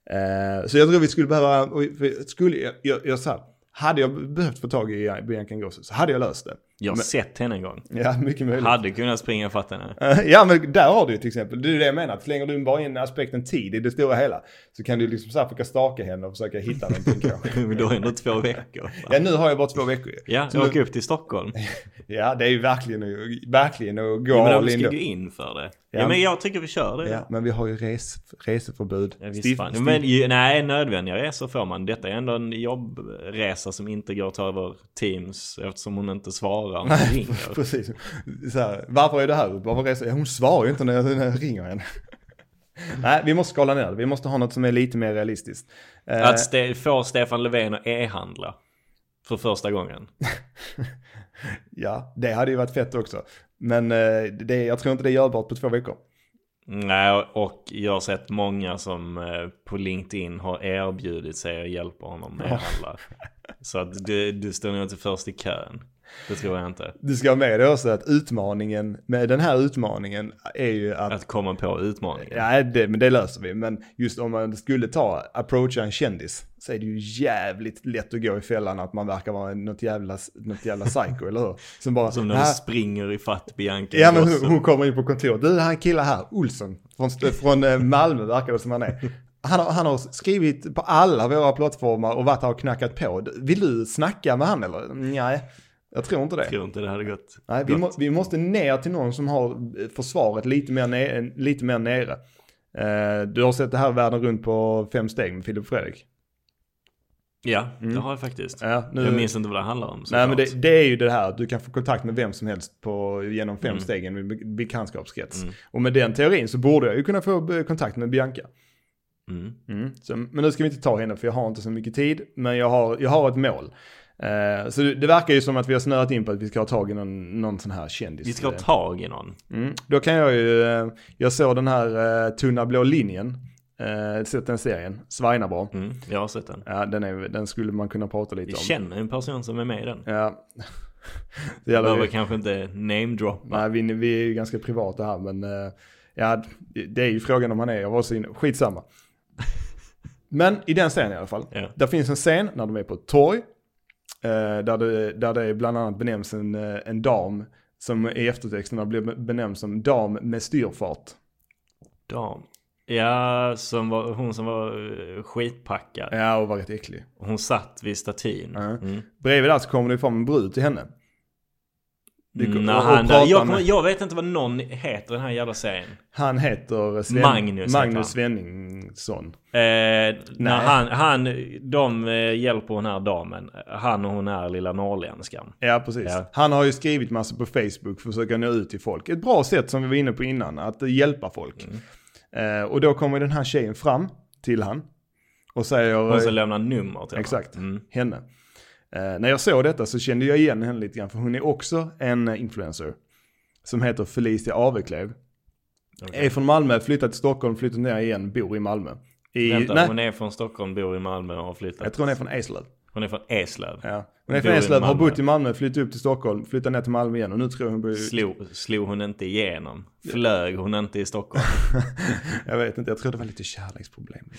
[SPEAKER 2] Eh, så jag tror vi skulle behöva, och vi- skulle, jag, jag, jag så här, hade jag behövt få tag i Bianca Ingrosso så hade jag löst det.
[SPEAKER 1] Jag har sett henne en gång.
[SPEAKER 2] Ja, mycket möjligt.
[SPEAKER 1] Hade kunnat springa ifatt henne.
[SPEAKER 2] Eh, Ja men där har du ju till exempel, det är det jag menar, slänger du bara in aspekten tid i det stora hela så kan du liksom så här försöka staka henne och försöka hitta någonting kanske.
[SPEAKER 1] Men då är det ändå två veckor.
[SPEAKER 2] Ja, nu har jag bara två veckor ju.
[SPEAKER 1] Ja,
[SPEAKER 2] Så
[SPEAKER 1] åk
[SPEAKER 2] nu,
[SPEAKER 1] upp till Stockholm.
[SPEAKER 2] ja, det är ju verkligen, att- verkligen att gå
[SPEAKER 1] Ja, men
[SPEAKER 2] all
[SPEAKER 1] de
[SPEAKER 2] in
[SPEAKER 1] ska
[SPEAKER 2] då.
[SPEAKER 1] gå in för det.
[SPEAKER 2] Ja.
[SPEAKER 1] Ja, men jag tycker vi kör det.
[SPEAKER 2] Ja, men vi har ju res, reseförbud.
[SPEAKER 1] Ja, visst
[SPEAKER 2] Stift-
[SPEAKER 1] fan.
[SPEAKER 2] stift-
[SPEAKER 1] Men, ju, nej, nödvändiga resor får man. Detta är ändå en jobbresa som inte går att ta över Teams eftersom hon inte svarar när hon ringer.
[SPEAKER 2] Precis. Så här, varför är du här? Varför reser? Ja, hon svarar ju inte när jag, när jag ringer henne. Nej, vi måste skala ner det. Vi måste ha något som är lite mer realistiskt. Eh,
[SPEAKER 1] Att ste- få Stefan Löfven att e-handla för första gången.
[SPEAKER 2] ja, det hade ju varit fett också. Men eh, det, jag tror inte det är görbart på två veckor.
[SPEAKER 1] Nej, och jag har sett många som eh, på LinkedIn har erbjudit sig att hjälpa honom med att handla. Så att du, du står nog inte först i kön. Det tror jag inte.
[SPEAKER 2] Du ska ha med dig också att utmaningen med den här utmaningen är ju att
[SPEAKER 1] Att komma på utmaningen.
[SPEAKER 2] Ja, det, men det löser vi. Men just om man skulle ta, approacha en kändis, så är det ju jävligt lätt att gå i fällan att man verkar vara något jävla, något jävla psycho, eller hur? Som bara,
[SPEAKER 1] Som när
[SPEAKER 2] "Här-
[SPEAKER 1] du springer i fatt Bianca
[SPEAKER 2] Ja men
[SPEAKER 1] Ingrosso.
[SPEAKER 2] hon, hon kommer in på kontoret. Du, det här är en kille här, Olsson, från, från eh, Malmö verkar det som han är. Han har, han har skrivit på alla våra plattformar och varit här och knackat på. Du, Vill du snacka med han eller? Nej, jag tror inte det.
[SPEAKER 1] Jag tror inte det hade gått.
[SPEAKER 2] Nej, vi, må, vi måste ner till någon som har eh, försvaret lite mer, ne- lite mer nere. Eh, du har sett det här världen runt på fem steg med Filip och Fredrik.
[SPEAKER 1] Ja, det har jag faktiskt.
[SPEAKER 2] Mm. Ja, nu,
[SPEAKER 1] Jag minns inte vad det handlar om
[SPEAKER 2] nej,
[SPEAKER 1] såklart.
[SPEAKER 2] men det, det är ju det här att du kan få kontakt med vem som helst på, genom fem
[SPEAKER 1] Mm.
[SPEAKER 2] stegen med be- bekantskapskrets. Och med den teorin så borde jag ju kunna få eh, kontakt med Bianca.
[SPEAKER 1] mm.
[SPEAKER 2] Mm. Så, men nu ska vi inte ta henne för jag har inte så mycket tid. Men jag har, jag har ett mål. Eh, så det, det verkar ju som att vi har snöat in på att vi ska ha tag i någon, någon sån här kändis. eh,
[SPEAKER 1] Vi ska ha tag i någon.
[SPEAKER 2] Mm. Då kan jag ju, eh, jag såg den här eh, Tunna blå linjen, eh, sett den serien, Svinabra.
[SPEAKER 1] Mm. Jag har sett den.
[SPEAKER 2] Ja, den, är, den skulle man kunna prata lite
[SPEAKER 1] Vi
[SPEAKER 2] om.
[SPEAKER 1] känner en person som är med i den.
[SPEAKER 2] Ja. Det gäller
[SPEAKER 1] Behöver
[SPEAKER 2] ju,
[SPEAKER 1] kanske inte namedroppa.
[SPEAKER 2] nej, vi, vi är ju ganska privata här men eh, ja, det är ju frågan om han är, jag var så inne, skitsamma. Men i den serien i alla fall,
[SPEAKER 1] Ja.
[SPEAKER 2] där finns en scen när de är på ett torg. eh, Där det, där det bland annat benämns en, eh, en dam som i eftertexterna blir benämnd som dam med styrfart.
[SPEAKER 1] Dam. Ja, som var, hon som var eh, skitpackad.
[SPEAKER 2] Ja, och var rätt äcklig.
[SPEAKER 1] Hon satt vid statyn.
[SPEAKER 2] Ja.
[SPEAKER 1] Mm.
[SPEAKER 2] Bredvid där så kommer det fram en brud till henne. Det går-
[SPEAKER 1] Nej,
[SPEAKER 2] och- och
[SPEAKER 1] Mm. han,
[SPEAKER 2] prata
[SPEAKER 1] jag, kommer-
[SPEAKER 2] med-
[SPEAKER 1] jag vet inte vad någon heter den här jävla serien.
[SPEAKER 2] Han heter Sven,
[SPEAKER 1] Magnus heter han.
[SPEAKER 2] Magnus Svenningsson.
[SPEAKER 1] Eh, när
[SPEAKER 2] Nej.
[SPEAKER 1] han, han, de eh, hjälper den här damen. Han och hon är lilla norrländskan.
[SPEAKER 2] Ja, precis.
[SPEAKER 1] Ja.
[SPEAKER 2] Han har ju skrivit massor på Facebook för att försöka nå ut till folk. Ett bra sätt som vi var inne på innan, att hjälpa folk.
[SPEAKER 1] Mm.
[SPEAKER 2] Eh, och då kommer den här tjejen fram till han och säger...
[SPEAKER 1] Hon som lämnar nummer till
[SPEAKER 2] Exakt,
[SPEAKER 1] honom. Mm.
[SPEAKER 2] henne. Eh, när jag såg detta så kände jag igen henne lite grann för hon är också en eh, influencer. Som heter Felicia Aveklev.
[SPEAKER 1] Okej.
[SPEAKER 2] Är från Malmö, flyttat till Stockholm, flyttat ner igen, bor i Malmö. I,
[SPEAKER 1] Vänta,
[SPEAKER 2] nej,
[SPEAKER 1] hon är från Stockholm, bor i Malmö och har flyttat.
[SPEAKER 2] jag tror hon är från Eslöv.
[SPEAKER 1] Hon är från Eslöv.
[SPEAKER 2] Ja. Hon är
[SPEAKER 1] Bor
[SPEAKER 2] från
[SPEAKER 1] i
[SPEAKER 2] Eslöv, har
[SPEAKER 1] Malmö.
[SPEAKER 2] bott i Malmö, flyttat upp till Stockholm, flyttat ner till Malmö igen och nu tror jag hon bor i...
[SPEAKER 1] Slog, slog hon inte igenom? Flög hon inte i Stockholm?
[SPEAKER 2] Jag vet inte, jag tror det var lite kärleksproblem.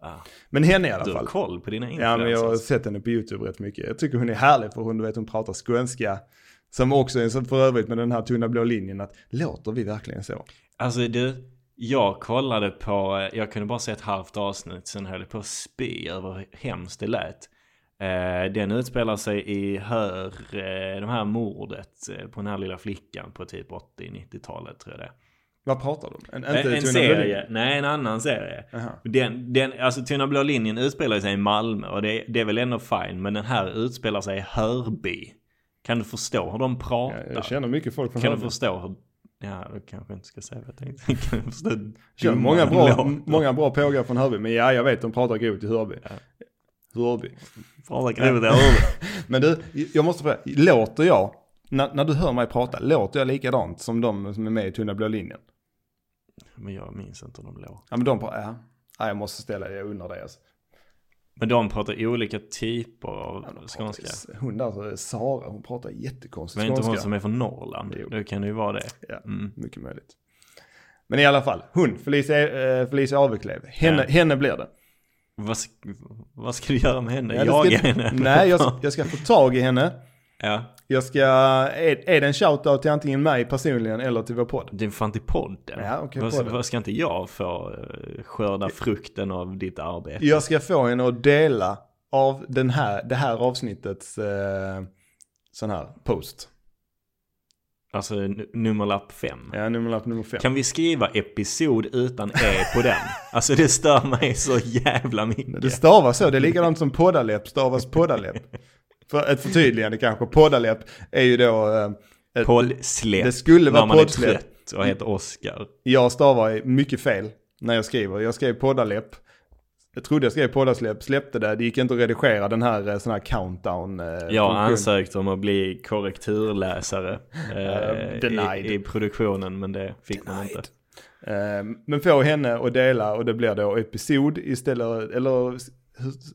[SPEAKER 1] Ah,
[SPEAKER 2] Men henne i alla
[SPEAKER 1] du har
[SPEAKER 2] fall.
[SPEAKER 1] koll på dina influencers.
[SPEAKER 2] Ja, men jag har sett henne på YouTube rätt mycket. Jag tycker hon är härlig för hon, du vet, hon pratar skånska. Som också är så för övrigt med den här tunna blå linjen att låter vi verkligen så?
[SPEAKER 1] Alltså du, jag kollade på, eh, jag kunde bara se ett halvt avsnitt, sen höll jag på att spy över hur hemskt det lät. Eh, Den utspelar sig i Hör, eh, det här mordet eh, på den här lilla flickan på typ 80-90-talet tror jag det är.
[SPEAKER 2] Vad pratar de? En,
[SPEAKER 1] Eh, en serie, nej en annan serie.
[SPEAKER 2] Aha.
[SPEAKER 1] Den, den, alltså Tunna blå linjen utspelar sig i Malmö och det, det är väl ändå fine, men den här utspelar sig i Hörby. Kan du förstå hur de
[SPEAKER 2] Ja,
[SPEAKER 1] pratar?
[SPEAKER 2] jag känner mycket folk från
[SPEAKER 1] Kan du
[SPEAKER 2] Hörby.
[SPEAKER 1] förstå hur... Ja, du kanske inte ska säga vad jag tänkte. Kan du förstå hur
[SPEAKER 2] Känner många
[SPEAKER 1] dumma de
[SPEAKER 2] bra,
[SPEAKER 1] låter?
[SPEAKER 2] många bra pågar från Hörby, men ja, jag vet, de pratar grovt i Hörby. Hörby.
[SPEAKER 1] Prata grovt där över.
[SPEAKER 2] Men du, jag måste fråga, låter jag, när, när du hör mig prata, låter jag likadant som de som är med i Tunna blå linjen?
[SPEAKER 1] Men jag minns inte hur de låter.
[SPEAKER 2] Ja, men de pratar, ja. ja jag måste ställa det, jag undrar det alltså.
[SPEAKER 1] Men de pratar olika typer av
[SPEAKER 2] De pratar-
[SPEAKER 1] skånska.
[SPEAKER 2] Hon där, eh, Sara, hon pratar jättekonstigt
[SPEAKER 1] Men
[SPEAKER 2] skånska.
[SPEAKER 1] inte hon som är från Norrland.
[SPEAKER 2] Jo.
[SPEAKER 1] Då kan det ju vara det.
[SPEAKER 2] Ja,
[SPEAKER 1] Mm.
[SPEAKER 2] mycket möjligt. Men i alla fall, hon, Felicia, eh, Felicia Aveklev, henne,
[SPEAKER 1] Ja.
[SPEAKER 2] henne blir det.
[SPEAKER 1] Vad, sk- vad ska du göra med henne?
[SPEAKER 2] Ja, det
[SPEAKER 1] Jaga
[SPEAKER 2] ska,
[SPEAKER 1] henne?
[SPEAKER 2] Nej, jag, ska- jag ska få tag i henne.
[SPEAKER 1] Ja.
[SPEAKER 2] Jag ska, är, är det en shoutout till antingen mig personligen eller till vår podd?
[SPEAKER 1] Det är fan till podden.
[SPEAKER 2] Ja, okej,
[SPEAKER 1] vad,
[SPEAKER 2] podden.
[SPEAKER 1] vad ska inte jag få eh, skörda frukten av ditt arbete?
[SPEAKER 2] Jag ska få henne att dela av den här, det här avsnittets eh, sån här post.
[SPEAKER 1] Alltså n- nummerlapp fem.
[SPEAKER 2] Ja, nummerlapp nummer fem.
[SPEAKER 1] Kan vi skriva episod utan e på den? Alltså det stör mig så jävla mycket.
[SPEAKER 2] Det stavas så, det är likadant som poddaläpp stavas poddaläpp. För ett förtydligande kanske, poddaläpp är ju då, eh, ett,
[SPEAKER 1] Poddsläpp.
[SPEAKER 2] det skulle vara
[SPEAKER 1] När man är
[SPEAKER 2] poddsläpp.
[SPEAKER 1] trött och heter Oscar.
[SPEAKER 2] jag stavar mycket fel när jag skriver. Jag skrev poddaläpp, jag trodde jag skrev poddasläpp, släppte det, det gick inte att redigera den här eh, sån här countdown. eh,
[SPEAKER 1] Jag har
[SPEAKER 2] funktionen.
[SPEAKER 1] ansökt om att bli korrekturläsare eh,
[SPEAKER 2] denied.
[SPEAKER 1] i, i produktionen men det fick man inte.
[SPEAKER 2] Eh, Men få henne att dela och det blir då episod istället, eller s-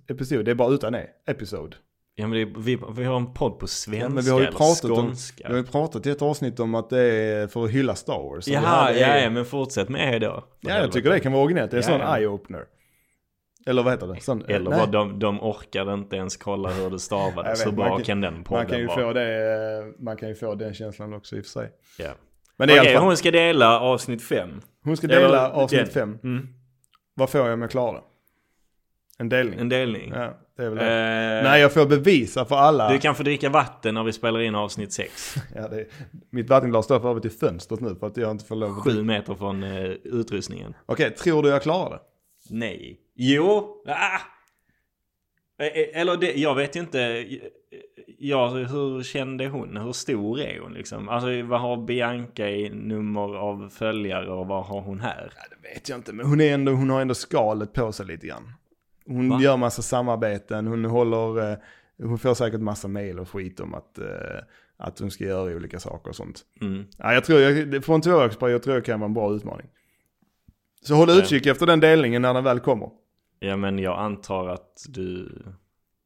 [SPEAKER 2] episod, det är bara utan e, episod.
[SPEAKER 1] Ja, men det, vi, vi har en podd på svenska
[SPEAKER 2] Ja, men vi har ju
[SPEAKER 1] eller
[SPEAKER 2] pratat om, vi
[SPEAKER 1] skånska.
[SPEAKER 2] har ju pratat i ett avsnitt om att det är för att hylla Star Wars. Och det
[SPEAKER 1] Jaha,
[SPEAKER 2] här, det
[SPEAKER 1] ja,
[SPEAKER 2] är-
[SPEAKER 1] ja, men fortsätt med er då.
[SPEAKER 2] Ja, jag tycker det kan vara originellt. Det är en
[SPEAKER 1] Ja,
[SPEAKER 2] sån
[SPEAKER 1] ja.
[SPEAKER 2] eye-opener. Eller vad heter det? Sån,
[SPEAKER 1] Eller
[SPEAKER 2] nej.
[SPEAKER 1] vad, de, de orkade inte ens kolla hur det
[SPEAKER 2] Jag
[SPEAKER 1] stavades.
[SPEAKER 2] vet,
[SPEAKER 1] Så
[SPEAKER 2] man
[SPEAKER 1] bra
[SPEAKER 2] kan-
[SPEAKER 1] kan, den podden
[SPEAKER 2] man kan, ju
[SPEAKER 1] vara.
[SPEAKER 2] få det, eh, man kan ju få den känslan också i och för sig.
[SPEAKER 1] Ja.
[SPEAKER 2] Men det är
[SPEAKER 1] Okej,
[SPEAKER 2] i alla fall,
[SPEAKER 1] hon ska dela avsnitt fem.
[SPEAKER 2] hon ska dela
[SPEAKER 1] Eller-
[SPEAKER 2] avsnitt
[SPEAKER 1] den.
[SPEAKER 2] fem.
[SPEAKER 1] Mm.
[SPEAKER 2] Vad får jag om jag klarar det? En delning.
[SPEAKER 1] En delning.
[SPEAKER 2] Ja, det är väl det.
[SPEAKER 1] Eh,
[SPEAKER 2] Nej, jag får bevisa för alla.
[SPEAKER 1] Du kan få dricka vatten när vi spelar in avsnitt sex.
[SPEAKER 2] Ja, det, mitt vattenglas står för övrigt i fönstret nu för att jag inte får lov att...
[SPEAKER 1] Sju meter från eh, utrustningen.
[SPEAKER 2] Okej, tror du jag klarar det?
[SPEAKER 1] Nej. Jo. Ah! Eh, eh, Eller det, jag vet ju inte. Ja, hur kände hon? Hur stor är hon liksom? Alltså vad har Bianca i nummer av följare och vad har hon här?
[SPEAKER 2] Ja, det vet jag inte, men hon, är ändå, hon har ändå skalet på sig lite grann. Hon
[SPEAKER 1] Va?
[SPEAKER 2] gör massa samarbeten, hon håller... eh, Hon får säkert massa mejl och skit om att, eh, att hon ska göra olika saker och sånt.
[SPEAKER 1] Mm.
[SPEAKER 2] Ja, jag tror, jag, det får inte vara överspray, jag tror det kan vara en bra utmaning. Så håll utkik efter den delningen när den väl kommer.
[SPEAKER 1] Ja, men jag antar att du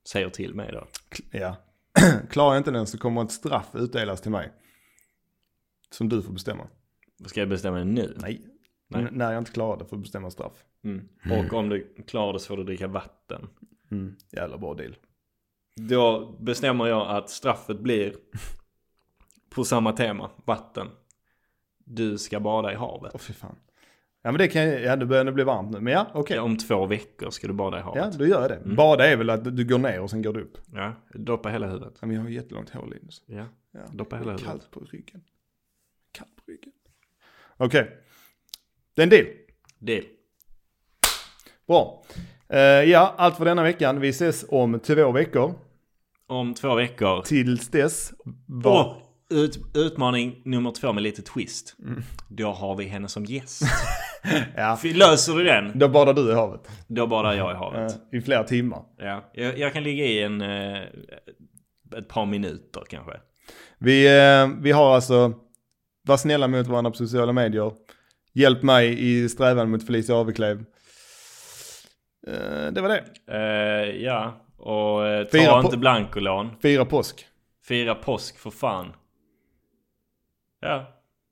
[SPEAKER 1] säger till mig då.
[SPEAKER 2] K- Ja. Klarar jag inte den så kommer ett straff utdelas till mig. Som du får bestämma.
[SPEAKER 1] Ska jag bestämma det nu?
[SPEAKER 2] Nej.
[SPEAKER 1] Nej.
[SPEAKER 2] N- när jag inte klarar det får jag bestämma straff.
[SPEAKER 1] Mm. Och om du klarar det så får du dricka vatten.
[SPEAKER 2] Mm. Jävla bra deal.
[SPEAKER 1] Då bestämmer jag att straffet blir på samma tema, vatten. Du ska bada i havet.
[SPEAKER 2] Åh fy fan. Ja men det kan jag, ja det börjar nu bli varmt nu. Men ja, okej.
[SPEAKER 1] Om två veckor ska du bada i
[SPEAKER 2] Ja,
[SPEAKER 1] havet.
[SPEAKER 2] då gör jag det. Bada är väl att du går ner och sen går du upp.
[SPEAKER 1] Ja. Doppa hela huvudet.
[SPEAKER 2] Ja, men jag har jättelångt hår Linus.
[SPEAKER 1] Ja.
[SPEAKER 2] Ja.
[SPEAKER 1] Doppa hela huvudet.
[SPEAKER 2] Kallt på ryggen. Kallt på ryggen. Okej. Det är en deal.
[SPEAKER 1] Deal.
[SPEAKER 2] Bra. Eh, ja, allt för denna veckan. Vi ses om två veckor.
[SPEAKER 1] Om två veckor.
[SPEAKER 2] Tills dess. Var...
[SPEAKER 1] Och ut, utmaning nummer två med lite twist. Då har vi henne som gäst.
[SPEAKER 2] Ja,
[SPEAKER 1] Fy- Löser du den,
[SPEAKER 2] då badar du i havet.
[SPEAKER 1] då badar jag i havet.
[SPEAKER 2] Eh, I flera timmar.
[SPEAKER 1] Ja. Jag, jag kan ligga i en... Eh, ett par minuter kanske.
[SPEAKER 2] Vi, eh, vi har alltså, var snälla mot varandra på sociala medier. Hjälp mig i strävan mot Felicia Aveklev. Eh, det var det.
[SPEAKER 1] Eh, ja. Och eh, ta
[SPEAKER 2] Fira på-
[SPEAKER 1] inte blankolån.
[SPEAKER 2] Fira påsk.
[SPEAKER 1] Fira påsk för fan. Ja.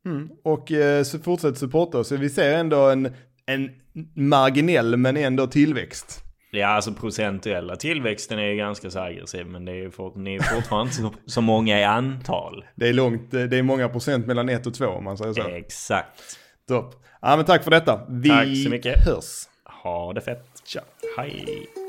[SPEAKER 2] Mm. Och eh, så fortsätt supporta oss. Vi ser ändå en, en marginell men ändå tillväxt.
[SPEAKER 1] Ja, alltså procentuella tillväxten är ju ganska så aggressiv men det är ju fort, ni är fortfarande inte så, så många i antal.
[SPEAKER 2] Det är långt, eh, det är många procent mellan 1 och 2 om man säger så.
[SPEAKER 1] Exakt.
[SPEAKER 2] Topp. Ja men tack för detta. Vi
[SPEAKER 1] Tack så mycket.
[SPEAKER 2] hörs.
[SPEAKER 1] Ha det fett.
[SPEAKER 2] Tja.
[SPEAKER 1] Hej.